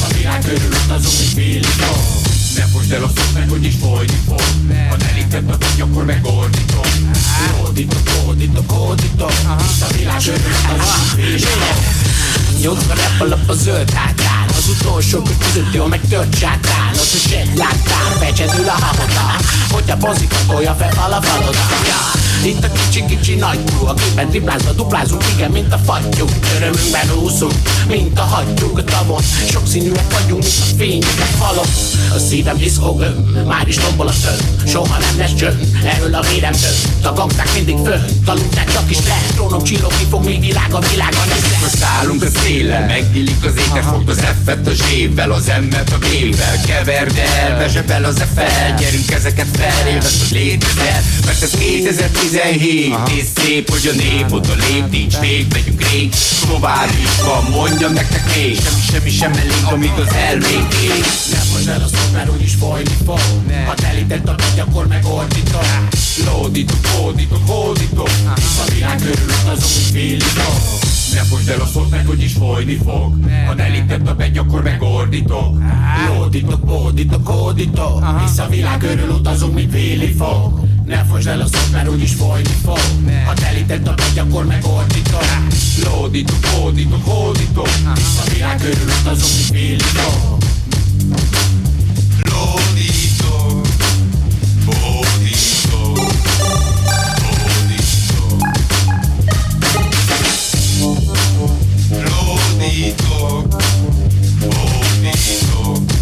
A világ körülött azok, hogy villitok Ne fosd el a szót meg, hogy is folyni fog Ha elített a vagy, akkor megordítom Hódítok, hódítok, hódítok Itt a világ örök, a Nyolcva repalap a zöld hátrán Az utolsó között jól meg tört sátán Ott is egy láttál, fecsedül a habota Hogyha bozik, akkor a fel a faloda ja. Itt a kicsi-kicsi nagy túl Akiben triplázva duplázunk, igen, mint a fattyúk Örömünkben úszunk, mint a hattyúk a tavon Sokszínűek vagyunk, mint a fények a falon A szívem diszkogöm, már is tombol a tön Soha nem lesz csönd, erről a vérem dönt A gangták mindig fönn, taluknák csak is le Trónom csillogni fog, mi világ a világon is lesz Most állunk a szélen, megnyílik az éter Fogd az F-et a zsébbel, az M-et a B-vel Keverd el, vezseb el az F-el Gyerünk ezeket fel, élvezd, hogy létezel Mert ez 2017, és szép, hogy a nép oda lép Nincs vég, megyünk rég, tovább is van Mondjam nektek még, semmi, semmi sem elég Amíg az elménk ég Ne fosd el a szót, mert úgyis folyni fog Ha telített a vagy, akkor megordítom Lódítok, hódítok, hódítok Hisz a világ körülött az, amit villitok Ne fosd el a szót meg, hogy is folyni fog Ha elintett a begy, akkor megordítok Lódítok, bódítok, hódítok Hisz a világ örül utazunk, mint véli fog Ne fosd el a szót, mert úgyis folyni fog Ha telített a vagy, akkor megordítom Lódítok, hódítok, hódítok Hisz a világ örül utazunk, mint véli fog Lódítok, hódítok, hódítok Lódítok, hódítok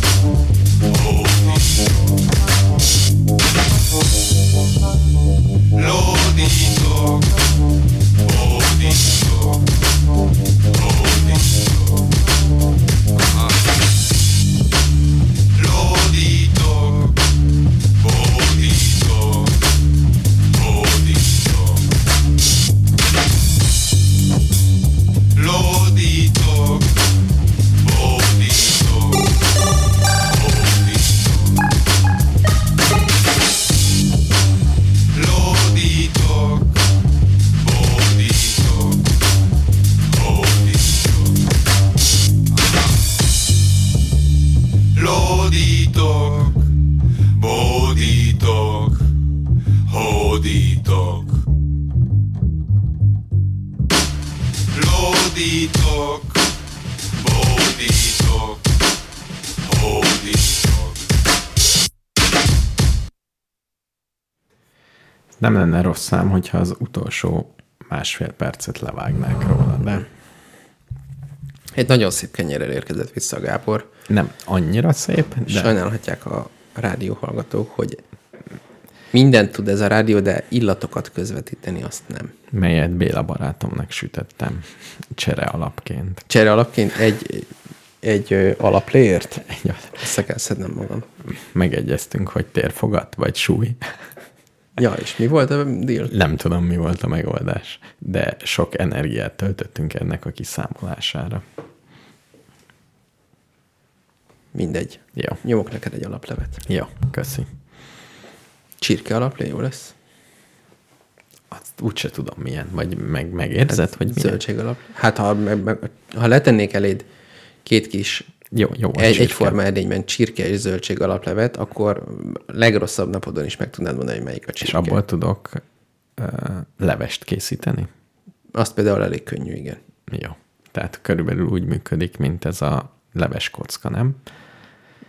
Nem lenne rossz szám, hogyha az utolsó másfél percet levágnák róla, de Egy nagyon szép kenyérrel érkezett vissza Gábor. nem annyira szép, De. de Sajnálhatják a rádióhallgatók, hogy mindent tud ez a rádió, de illatokat közvetíteni azt nem. melyet Béla barátomnak sütöttem csere alapként. Csere alapként egy, egy ö, alapléért Egy- össze kell szednem magam. Megegyeztünk, hogy térfogat vagy súly. Ja, és mi volt a deal? Nem tudom, mi volt a megoldás, de sok energiát töltöttünk ennek a kiszámolására. Mindegy. Jó. Nyomok neked egy alaplevet. Jó, köszi. Csirke alaplé, jó lesz? Azt úgyse tudom milyen, vagy meg, megérzed, hogy milyen. Zöldség alaplé. Hát ha, meg, meg, ha letennék eléd két kis Jó, jó. a egy, csirke. egyforma edényben csirke és zöldség alaplevet, akkor legrosszabb napodon is meg tudnád mondani, hogy melyik a És csirke. abból tudok ö, levest készíteni? Azt például elég könnyű, igen. Jó. Tehát körülbelül úgy működik, mint ez a leves kocka, nem?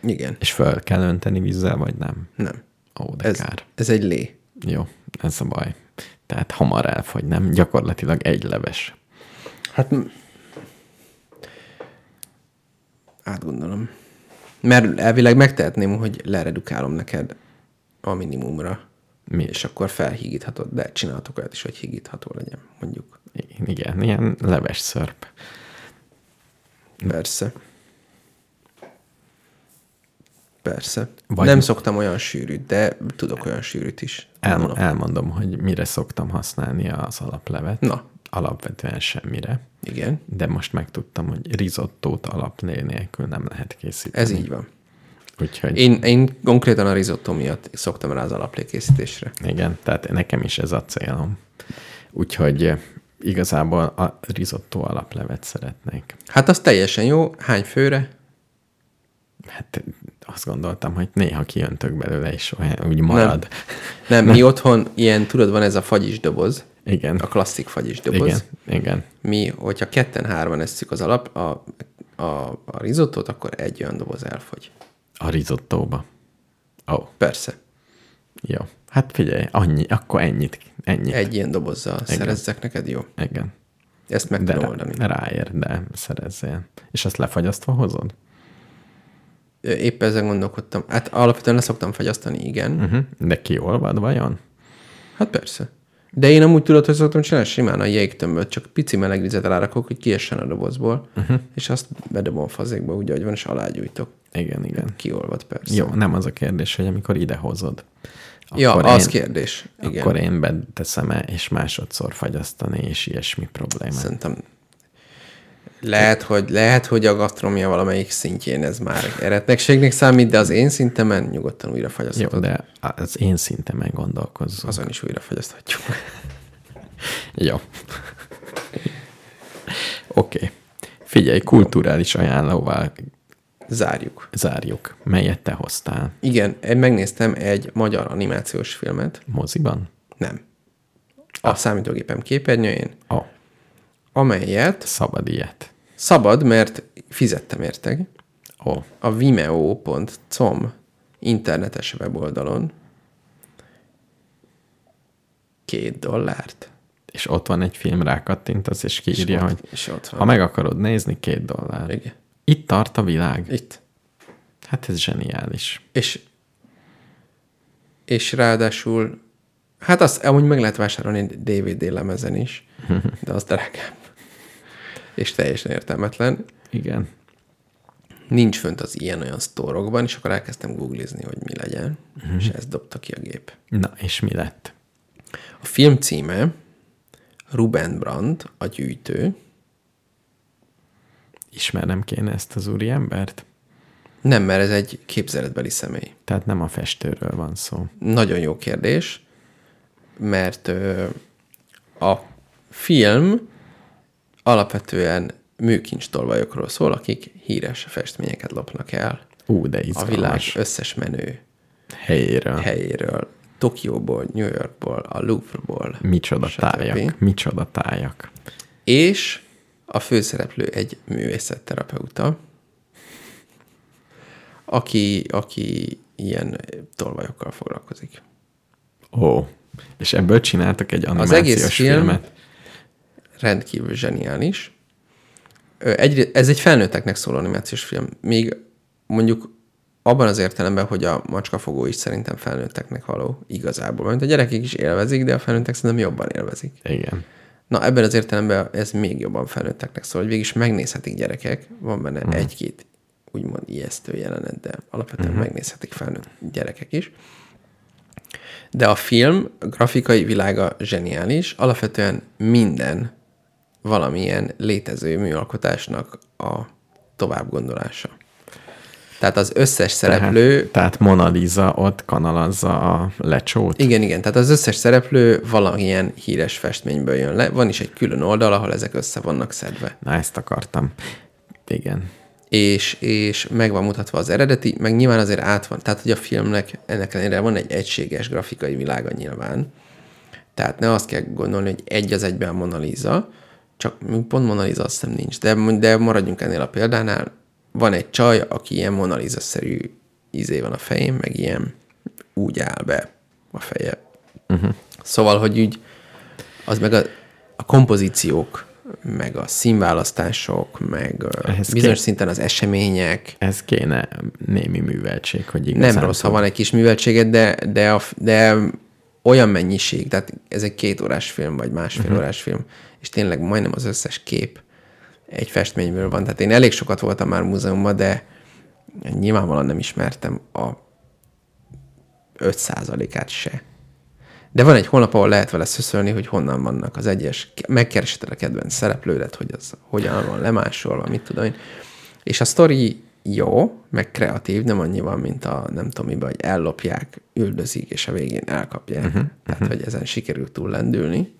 Igen, És föl kell önteni vízzel, vagy nem? nem. Ó, de Ez, kár. ez egy lé. Jó, ez a baj. Tehát hamar elfogy, nem? Gyakorlatilag egy leves. Hát m- átgondolom. Mert elvileg megtehetném, hogy leredukálom neked a minimumra. Mi? És akkor felhígíthatod, de csinálhatok olyat is, hogy hígítható legyen, mondjuk. Igen, ilyen leves szörp. Hm. Persze. Persze. Vagy- Vagy nem szoktam olyan sűrűt, de tudok olyan sűrűt is. El, Mondom. elmondom, hogy mire szoktam használni az alaplevet. Na. Alapvetően semmire. Igen, De most megtudtam, hogy rizottót alaplé nélkül nem lehet készíteni. ez így van. Úgyhogy Én, én konkrétan a risotto miatt szoktam rá az alaplékészítésre. Igen, tehát nekem is ez a célom. Úgyhogy eh, igazából a risotto alaplevet szeretnék. Hát az teljesen jó. Hány főre? Hát azt gondoltam, hogy néha kijöntök belőle, és olyan úgy marad. Nem, mi otthon ilyen, tudod, van ez a fagyis doboz, Nem. Igen. a klasszik fagyis doboz. Igen, Igen. igen. Mi, hogyha ketten-hárman esszük az alap, a, a, a risottót, akkor egy olyan doboz elfogy. A risottóba. Ó, oh, Persze. jó. Hát figyelj, annyi, akkor ennyit, ennyit. Egy ilyen dobozzal Igen. szerezzek neked, jó? Igen. Ezt meg De tudom oldani. rá, ráér, de szerezzél. És azt lefagyasztva hozod? Ö, Épp ezen gondolkodtam. Hát alapvetően leszoktam fagyasztani, igen. Uh-huh. Uh-huh. De kiolvad vajon? Hát persze. De én amúgy tudod, hogy szoktam csinálni simán a jégtömböt, csak pici meleg vizet rárakok, hogy kiessen a dobozból, Mhm. uh-huh. és azt bedobom a fazékba, úgy, ahogy van, és alágyújtok. Igen, igen. Kiolvad persze. Jó, nem az a kérdés, hogy amikor ide hozod. Ja, az én, kérdés. Igen. Akkor én beteszem el, és másodszor fagyasztani, és ilyesmi probléma. Szerintem lehet, hogy, lehet, hogy a gasztromia valamelyik szintjén ez már eretnekségnek számít, de az én szintemen nyugodtan újra Jó, fagyaszthatod. de az én szintemen gondolkozzunk. Azon is újra fagyaszthatjuk. [LAUGHS] Jó. Oké. Okay. Figyelj, kulturális ajánlóval Zárjuk. zárjuk. Melyet te hoztál? Igen, én megnéztem egy magyar animációs filmet. Moziban? Nem. A Ah. számítógépem képernyőjén, Ó, oh, amelyet szabad ilyet. szabad, mert fizettem érte. Ó, oh, a vimeo.com internetes weboldalon két dollárt. és ott van egy film, rákattintasz, és kiírja, ott- hogy és ott van. ha meg akarod nézni, két dollár. Igen. Itt tart a világ. Itt. Hát ez zseniális. És, és ráadásul, hát azt amúgy meg lehet vásárolni DVD lemezen is, de az drágább. És teljesen értelmetlen. Igen. Nincs fönt az ilyen-olyan sztórokban, és akkor elkezdtem googlizni, hogy mi legyen, és ezt dobta ki a gép. Na, és mi lett? A film címe Ruben Brandt, a gyűjtő. Ismernem kéne ezt az úriembert? Nem, mert ez egy képzeletbeli személy. Tehát nem a festőről van szó. Nagyon jó kérdés, mert ö, a film alapvetően műkincs tolvajokról szól, akik híres festményeket lopnak el Ú, de a világ izgalmas. összes menő helyéről. Hely. helyéről. Tokióból, New Yorkból, a Louvre-ból. Micsoda stb. tájak. Micsoda tájak. És a főszereplő egy művészetterapeuta, aki, aki ilyen tolvajokkal foglalkozik. Ó, És ebből csináltak egy animációs egész film- filmet. rendkívül zseniális. Ö, Egy, ez egy felnőtteknek szóló animációs film. Még mondjuk abban az értelemben, hogy a macskafogó is szerintem felnőtteknek való igazából. Mert a gyerekek is élvezik, de a felnőttek szerintem jobban élvezik. Igen. Na, ebben az értelemben ez még jobban felnőtteknek szól, hogy végig is megnézhetik gyerekek, van benne uh-huh. egy-két úgymond ijesztő jelenet, de alapvetően uh-huh. megnézhetik felnőtt gyerekek is. De a film grafikai világa zseniális, alapvetően minden valamilyen létező műalkotásnak a továbbgondolása. Tehát az összes szereplő Tehát, tehát Mona Lisa ott kanalazza a lecsót. igen, igen, tehát az összes szereplő valamilyen híres festményből jön le. Van is egy külön oldal, ahol ezek össze vannak szedve. Na, ezt akartam. Igen. És, és meg van mutatva az eredeti, meg nyilván azért át van. Tehát, hogy a filmnek ennek ellenére van egy egységes grafikai világa nyilván. Tehát ne azt kell gondolni, hogy egy az egyben Mona Lisa, csak pont Mona Lisa azt hiszem nincs, de, de maradjunk ennél a példánál. Van egy csaj, aki ilyen Mona Lisa-szerű izé van a fején, meg ilyen úgy áll be a feje. Uh-huh. Szóval, hogy úgy az meg a, a kompozíciók, meg a színválasztások, meg ö, Ehhez bizonyos kép- szinten az események, Ez kéne némi műveltség, hogy igazán... nem rossz, ha van egy kis műveltséged, de, de, a, f- de olyan mennyiség, tehát ez egy két órás film, vagy másfél uh-huh. órás film, és tényleg majdnem az összes kép egy festményből van. Tehát én elég sokat voltam már múzeumban, de nyilvánvalóan nem ismertem a 5%-át se. De van egy honlap, ahol lehet vele szöszölni, hogy honnan vannak az egyes, megkeresheted a kedvenc szereplődet, hogy az hogyan van lemásolva, mit tudom én. És a sztori jó, meg kreatív, nem annyi van, mint a nem tudom miben, hogy ellopják, üldözik, és a végén elkapják. Uh-huh, Tehát, uh-huh. hogy ezen sikerült túllendülni.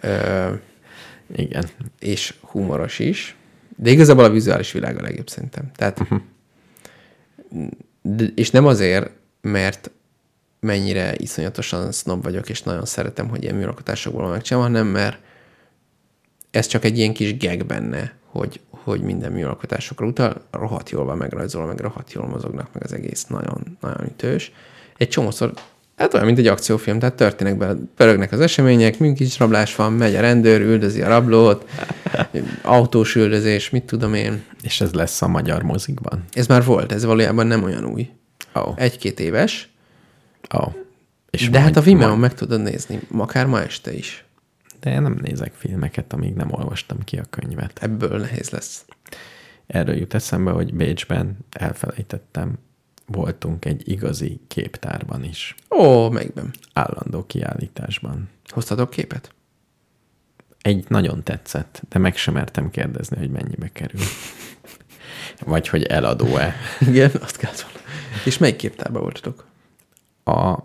Ö, Igen. és humoros is, de igazából a vizuális világ a legjobb szerintem. Tehát, de, és nem azért, mert mennyire iszonyatosan snob vagyok, és nagyon szeretem, hogy ilyen műalkotásokból van megcsinálva, hanem mert ez csak egy ilyen kis gag benne, hogy, hogy minden műalkotásokra utal, rohadt jól van megrajzolva, meg rohadt jól mozognak, meg az egész nagyon, nagyon ütős. Egy csomószor, hát olyan, mint egy akciófilm, tehát történnek bele, pörögnek az események, műkincrablás van, megy a rendőr, üldözi a [LAUGHS] rablót, autós üldözés, mit tudom én. És ez lesz a magyar mozikban? Ez már volt, ez valójában nem olyan új. Ó. Oh. Egy-két éves, Oh. És de hát a majd- Vimeo meg tudod nézni, akár ma este is. De én nem nézek filmeket, amíg nem olvastam ki a könyvet. Ebből nehéz lesz. Erről jut eszembe, hogy Bécsben elfelejtettem, voltunk egy igazi képtárban is, Ó, melyikben? állandó kiállításban. Hoztatok képet? Egy nagyon tetszett, de meg sem mertem kérdezni, hogy mennyibe kerül. Vagy hogy eladó-e. Igen, azt kellett volna. És melyik képtárban voltatok? A,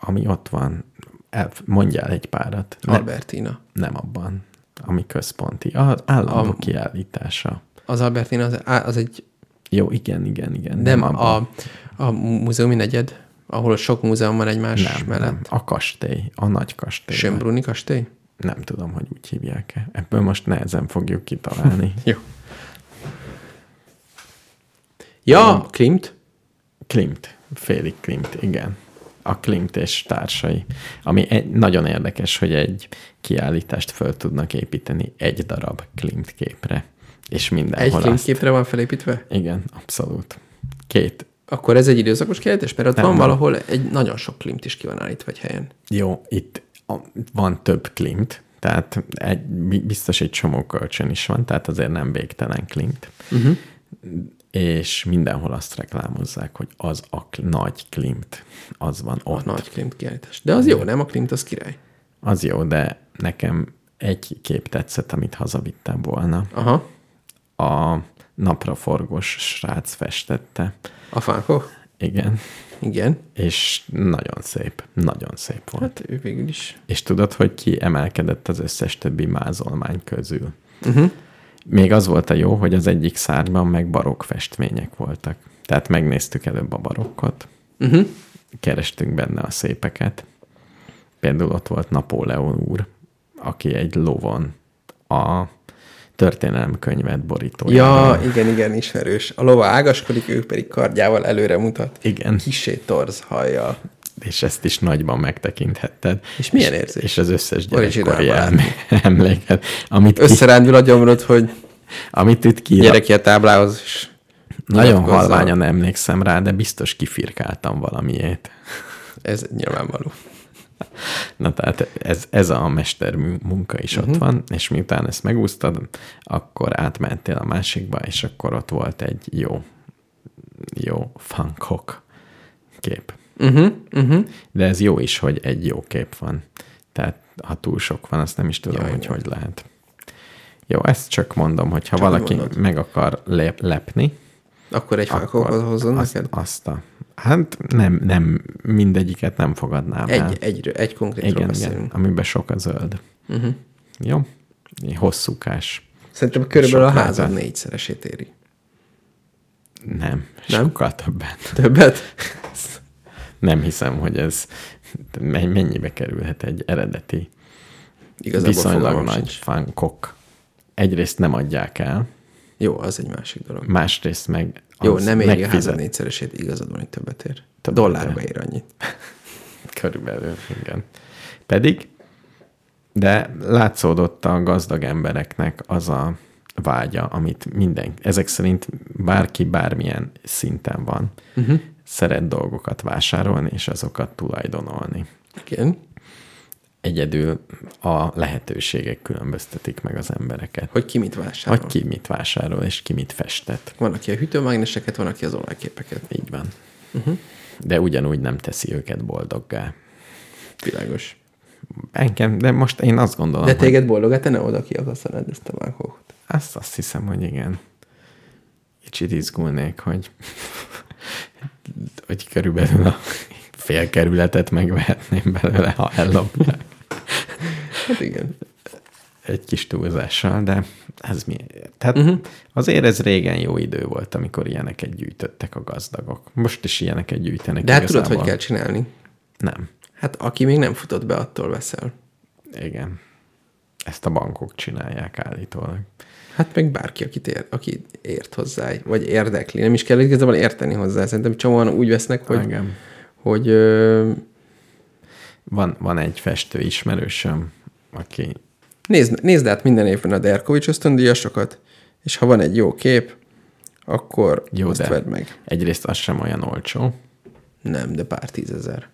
ami ott van, el, mondjál egy párat. Nem, Albertina. nem abban, ami központi. Az állandó A- kiállítása. Az Albertina az, á, az egy, Jó, igen, igen, igen. nem abban. a, a múzeumi negyed, ahol sok múzeum van egymás nem, mellett. nem. Nem. A kastély, a nagy kastély. Sönbruni kastély? Nem tudom, hogy úgy hívják-e. Ebből most nehezen fogjuk kitalálni. Jó. Ja, nem. Klimt. Klimt, félig Klimt, igen. A Klimt és társai. Ami egy, nagyon érdekes, hogy egy kiállítást föl tudnak építeni egy darab Klimt képre. És Egy mindenhol Klimt azt... képre van felépítve? Igen, abszolút. Két. Akkor ez egy időszakos kérdés, mert ott Nem, van nem. valahol egy nagyon sok Klimt is ki van állítva egy helyen. Jó, itt a, van több Klimt, tehát egy, bi- biztos egy csomó kölcsön is van, tehát azért nem végtelen Klimt. Mhm. Uh-huh. És mindenhol azt reklámozzák, hogy az a kl- nagy Klimt, az van ott. Nagy Klimt kiállítás. De az jó, nem? A Klimt az király. Az jó, de nekem egy kép tetszett, amit hazavittem volna. Aha. A napraforgós srác festette. A fánkó? Igen. Igen. És nagyon szép. Nagyon szép volt. Hát ő végül is. És tudod, hogy ki emelkedett az összes többi mázolmány közül. Mhm. Uh-huh. Még az volt a jó, hogy az egyik szárban meg barokk festmények voltak. Tehát megnéztük előbb a barokkot, Uh-huh. kerestünk benne a szépeket. Például ott volt Napóleon úr, aki egy lovon a történelemkönyvet borítója. Ja, igen, igen, ismerős. A lova ágaskodik, ő pedig kardjával előre mutat. Igen. Kisé torz hajjal. és ezt is nagyban megtekinthetted. És milyen érzés? És, és az összes Originál gyerekkori barát. elmé- [LAUGHS] emléket, amit, ki, Összerándul a gyomrod, hogy amit itt kirak, gyere ki a táblához, és Nagyon nyilatkozzal. halványan emlékszem rá, de biztos kifirkáltam valamiét. Ez nyilvánvaló. Na tehát ez, ez a mestermű munka is Mhm. uh-huh. ott van, és miután ezt megúsztad, akkor átmentél a másikba, és akkor ott volt egy jó, jó funkok kép. Uh-huh, uh-huh. De ez jó is, hogy egy jó kép van. Tehát ha túl sok van, azt nem is tudom, Jaj, hogy jaj. hogy lehet. Jó, ezt csak mondom, hogy ha Csak valaki mondod. meg akar lep- lepni, Akkor egy akkor fákóhoz hozzon azt, neked? Azt a, hát nem, nem, mindegyiket nem fogadnám el. Egy, egy, egy konkrétról igen, igen, beszélünk. Mhm. amiben sok a zöld. Uh-huh. Jó? Hosszúkás. Szerintem körülbelül a Sok házad lábát. négyszeresét éri. Nem, nem, Nem? sokkal többen. Többet? Nem hiszem, hogy ez men- mennyibe kerülhet egy eredeti, Igazából viszonylag fogalmam nagy sincs. fánkok. Egyrészt nem adják el, Jó, az egy másik dolog. másrészt meg Jó, az nem éri a házad megfizet- négyszeresét, igazad van, hogy többet ér. Többet Dollárba ér. ér annyit. Körülbelül, igen. Pedig, de látszódott a gazdag embereknek az a vágya, amit minden, ezek szerint bárki bármilyen szinten van, Mhm. uh-huh. szeret dolgokat vásárolni, és azokat tulajdonolni. Igen. Egyedül a lehetőségek különböztetik meg az embereket. Hogy ki mit vásárol. Hogy ki mit vásárol, és ki mit festet. Van, aki a hűtőmágneseket, van, aki az olajképeket. Így van. Uh-huh. Mhm. De ugyanúgy nem teszi őket boldoggá. Világos. Engem, de most én azt gondolom, De hogy- téged boldogá tenne oda ki akasztanád ezt a vágót. Azt azt hiszem, hogy igen. Kicsit izgulnék, hogy, hogy körülbelül a fél kerületet megvehetném belőle, ha ellopják Hát igen. egy kis túlzással, de ez mi? Tehát Mhm. uh-huh. azért ez régen jó idő volt, amikor ilyeneket gyűjtöttek a gazdagok. Most is ilyeneket gyűjtenek. De hát igazából. tudod, hogy kell csinálni? Nem. Hát aki még nem futott be, attól veszel. Igen. Ezt a bankok csinálják állítólag. Hát meg bárki, akit ér, aki ért hozzá, vagy érdekli. Nem is kell igazából érteni hozzá. Szerintem csomóan úgy vesznek, hogy, Igen. hogy ö, Van, van egy festő ismerősöm, aki Nézd, nézd át minden évben a Derkovics ösztöndíjasokat, és ha van egy jó kép, akkor Jó, jó, azt de. de. vedd meg. egyrészt az sem olyan olcsó, Nem, de pár tízezer.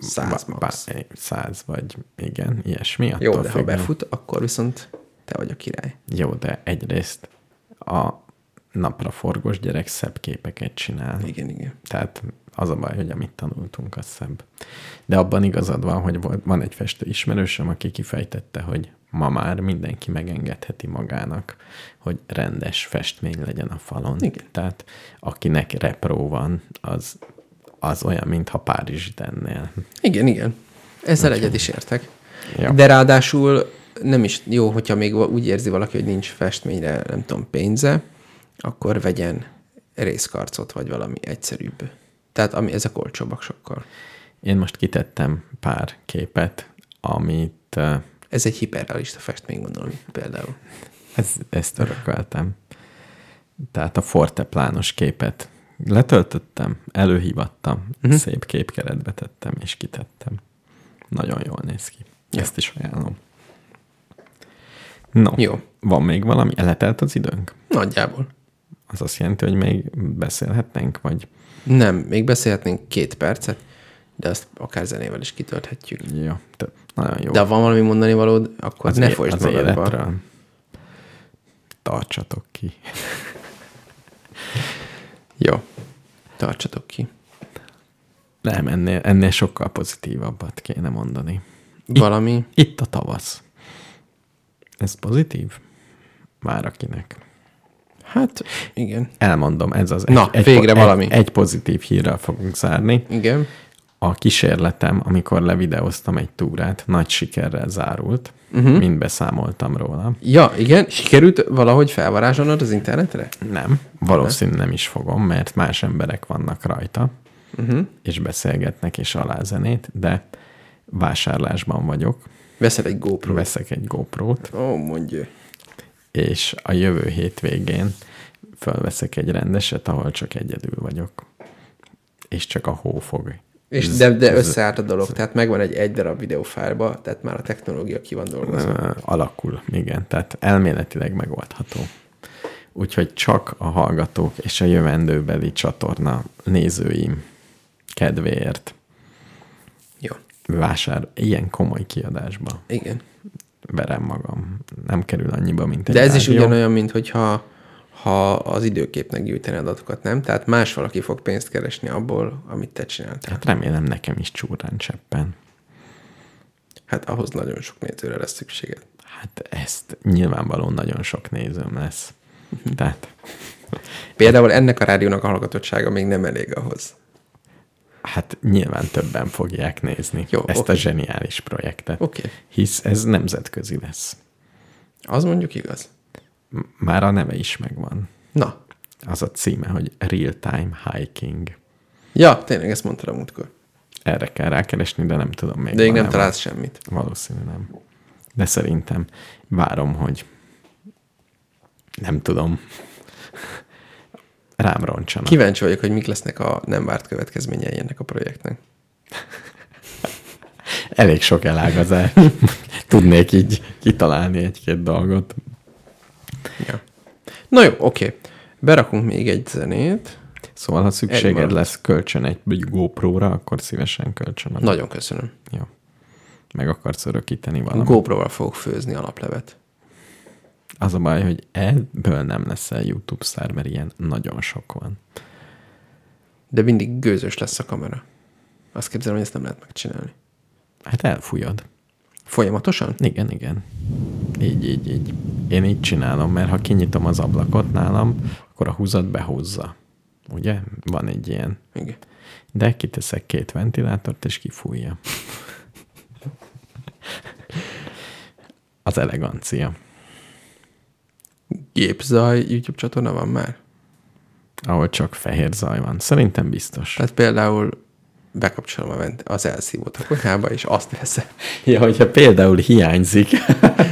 Száz Ba- max. bár- Száz vagy, igen, ilyesmi. Jó, attól de ha függően. befut, akkor viszont te vagy a király. Jó, de egyrészt a napraforgós gyerek szebb képeket csinál. Igen, igen. Tehát az a baj, hogy amit tanultunk, az szebb. De abban igazad van, hogy volt- van egy festő ismerősöm, aki kifejtette, hogy ma már mindenki megengedheti magának, hogy rendes festmény legyen a falon. Igen. Tehát akinek repró van, az, az olyan, mintha Párizsi tennél. Igen, igen. Ezzel egyet is értek. Ja. De ráadásul nem is jó, hogyha még va- úgy érzi valaki, hogy nincs festményre, nem tudom, pénze, akkor vegyen részkarcot, vagy valami egyszerűbb. Tehát ami, ezek olcsóbbak sokkal. Én most kitettem pár képet, amit eh, Ez egy hiperrealista festmény, gondolom, például. ez, ezt örököltem. Tehát a forteplános képet letöltöttem, előhívattam, Mhm. uh-huh. szép képkeretbe tettem, és kitettem. Nagyon jól néz ki. Ja. Ezt is ajánlom. No, Jó. van még valami? Eletelt az időnk? Nagyjából. Az azt jelenti, hogy még beszélhetnénk, vagy Nem, még beszélhetnénk két percet, de azt akár zenével is kitölthetjük. jó, te- nagyon jó. De ha van valami mondani valód, akkor az ne é- folytsd magadba. életről. Tartsatok ki. Jó. Tartsatok ki. Nem, ennél, ennél sokkal pozitívabbat kéne mondani. Valami. Itt a tavasz. Ez pozitív? Már akinek. Hát, igen. Elmondom, ez az Na, végre egy, valami. Egy, egy pozitív hírrel fogunk zárni. Igen. A kísérletem, amikor levideoztam egy túrát, nagy sikerrel zárult. Mhm. Uh-huh. Mind beszámoltam róla. Ja, igen. Sikerült valahogy felvarázsolnod az internetre? Nem, valószínűleg nem is fogom, mert más emberek vannak rajta, Mhm. uh-huh. és beszélgetnek, és alázenét, de vásárlásban vagyok. Veszel egy GoPro. Veszek egy GoPro-t, Ó, mondja. és a jövő hétvégén fölveszek egy rendeset, ahol csak egyedül vagyok. És csak a hó fog És de, de összeállt a dolog, tehát megvan egy egy darab videófájlba, tehát már a technológia ki van dolgozva. Ö, alakul, igen. Tehát elméletileg megoldható. Úgyhogy csak a hallgatók és a jövendőbeli csatorna nézőim kedvéért Jó. vásár ilyen komoly kiadásba Igen. verem magam. Nem kerül annyiba, mint egy De ez is rádió. ugyanolyan, mint hogyha ha az időképnek gyűjteni adatokat, nem? Tehát más valaki fog pénzt keresni abból, amit te csináltál. Hát remélem nekem is csúrán cseppen. Hát ahhoz nagyon sok nézőre lesz szükséged. Hát ezt nyilvánvalóan nagyon sok nézőm lesz. Mhm. Tehát Például ennek a rádiónak a hallgatottsága még nem elég ahhoz. hát nyilván többen fogják nézni Jó, Jó, ezt oké. a zseniális projektet. Oké. Hisz ez nemzetközi lesz. Az mondjuk igaz. M- Már a neve is megvan. Na. Az a címe, hogy Real Time Hiking. Ja, tényleg ezt mondtad a múltkor. Erre kell rákeresni, de nem tudom még. De még nem van-e találsz semmit. Valószínű nem. De szerintem várom, hogy nem tudom. Rám roncsanak. Kíváncsi vagyok, hogy mik lesznek a nem várt következményei ennek a projektnek. Elég sok elágazás. [LAUGHS] Tudnék így kitalálni egy-két dolgot. Ja. Na jó, oké. Berakunk még egy zenét. Szóval, ha szükséged maradt. lesz kölcsön egy GoPro-ra, akkor szívesen kölcsön. adom. Nagyon köszönöm. Jó. Meg akarsz örökíteni valamit. Go. GoPro-val fogok főzni alaplevet. Az a baj, hogy ebből nem leszel YouTube sztár, mert ilyen nagyon sok van. De mindig gőzös lesz a kamera. Azt képzelem, hogy ezt nem lehet megcsinálni. Hát elfújod. Folyamatosan? Igen, igen. Így, így, így. Én így csinálom, mert ha kinyitom az ablakot nálam, akkor a húzat behúzza. Ugye? Van egy ilyen. Igen. De kiteszek két ventilátort, és kifújja. Az elegancia. Gépzaj YouTube csatorna van már? Ahol csak fehér zaj van. Szerintem biztos. Tehát például bekapcsolom a vent, az elszívót a konyhába, és azt veszem. Ja, hogyha például hiányzik.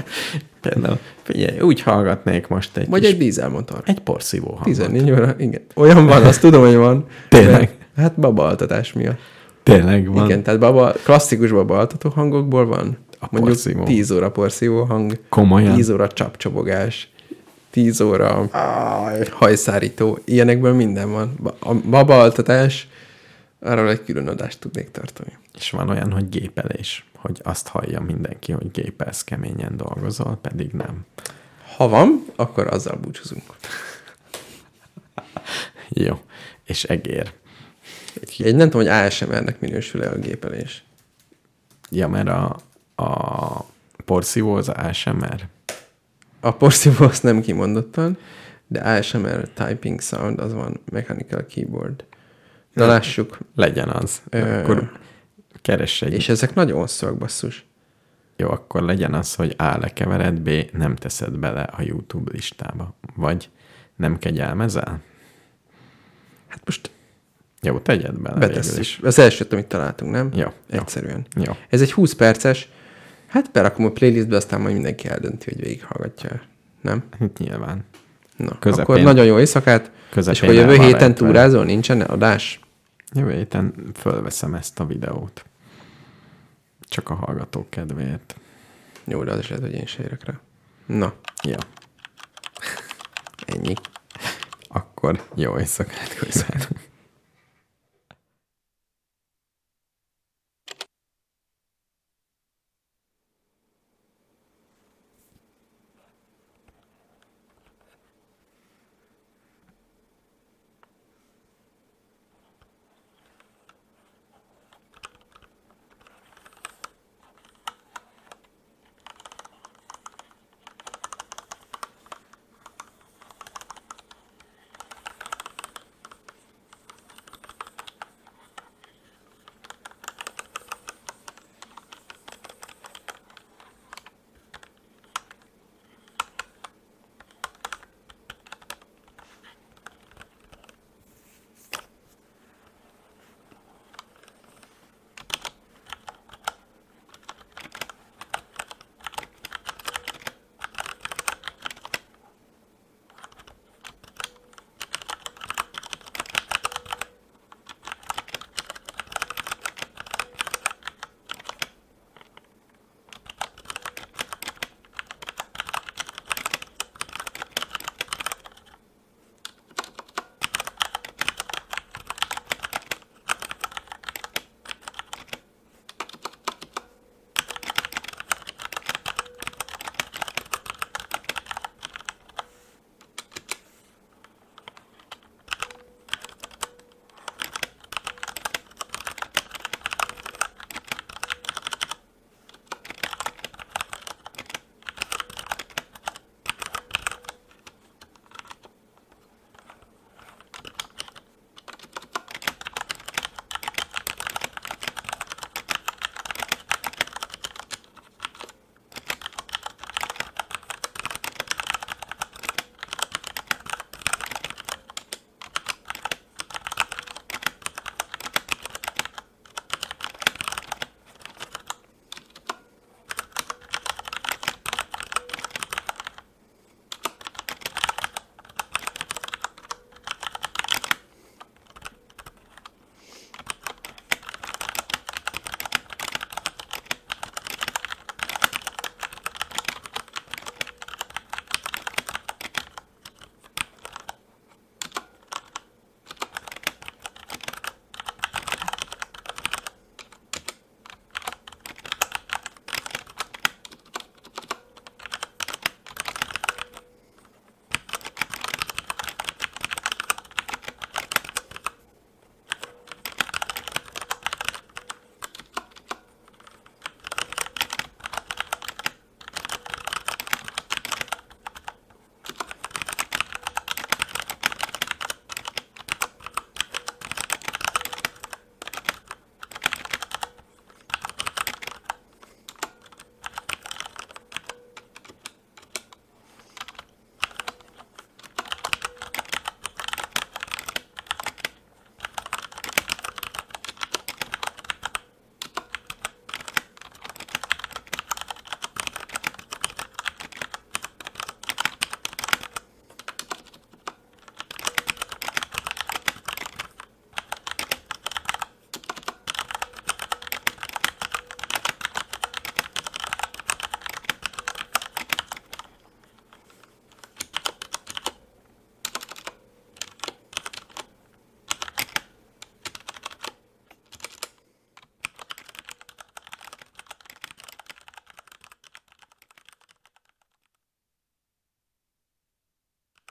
[LAUGHS] például, figyelj, úgy hallgatnék most egy Vagy kis- egy dízelmotor. egy porszívó hangot. 14 óra, igen. Olyan van, azt tudom, hogy van. Tényleg? De- Hát babaaltatás miatt. Tényleg van. Van. Igen, tehát baba, klasszikus babaaltató hangokból van. A Mondjuk porszívó. 10 óra porszívó hang. Komolyan? 10 óra csapcsobogás. 10 óra hajszárító. Ilyenekből minden van. Ba- A babaaltatás, arról egy külön adást tudnék tartani. És van olyan, hogy gépelés, hogy azt hallja mindenki, hogy gépelsz, keményen dolgozol, pedig nem. Ha van, akkor azzal búcsúzunk. Jó. És egér. Egy nem tudom, hogy ASMR-nek minősül-e a gépelés. Ja, mert a, a porszívó az ASMR. A porszívó azt nem kimondottan, de ASMR typing sound, az van mechanical keyboard. Na lássuk. Legyen az. Ö. Akkor keress egy... És ezek nagyon hosszúak, basszus. Jó, akkor legyen az, hogy A lekevered, B nem teszed bele a YouTube listába. Vagy nem kegyelmezel? Hát most Jó, tegyed bele végül is. betesszük. Az elsőt, amit találtunk, nem? Jó, jó. Egyszerűen. Jó. Ez egy 20 perces, hát berakom a playlistbe, aztán majd mindenki eldönti, hogy végighallgatja. Nem? Hát nyilván. Na, Közepén. akkor nagyon jó éjszakát, Közepén és akkor jövő elmaradt héten velem. túrázol, nincsen adás? Jövő héten fölveszem ezt a videót. Csak a hallgatók kedvéért. Jó, de az is lehet, hogy én se érek rá. Na, Ja, ennyi. akkor jó éjszakát kívánok.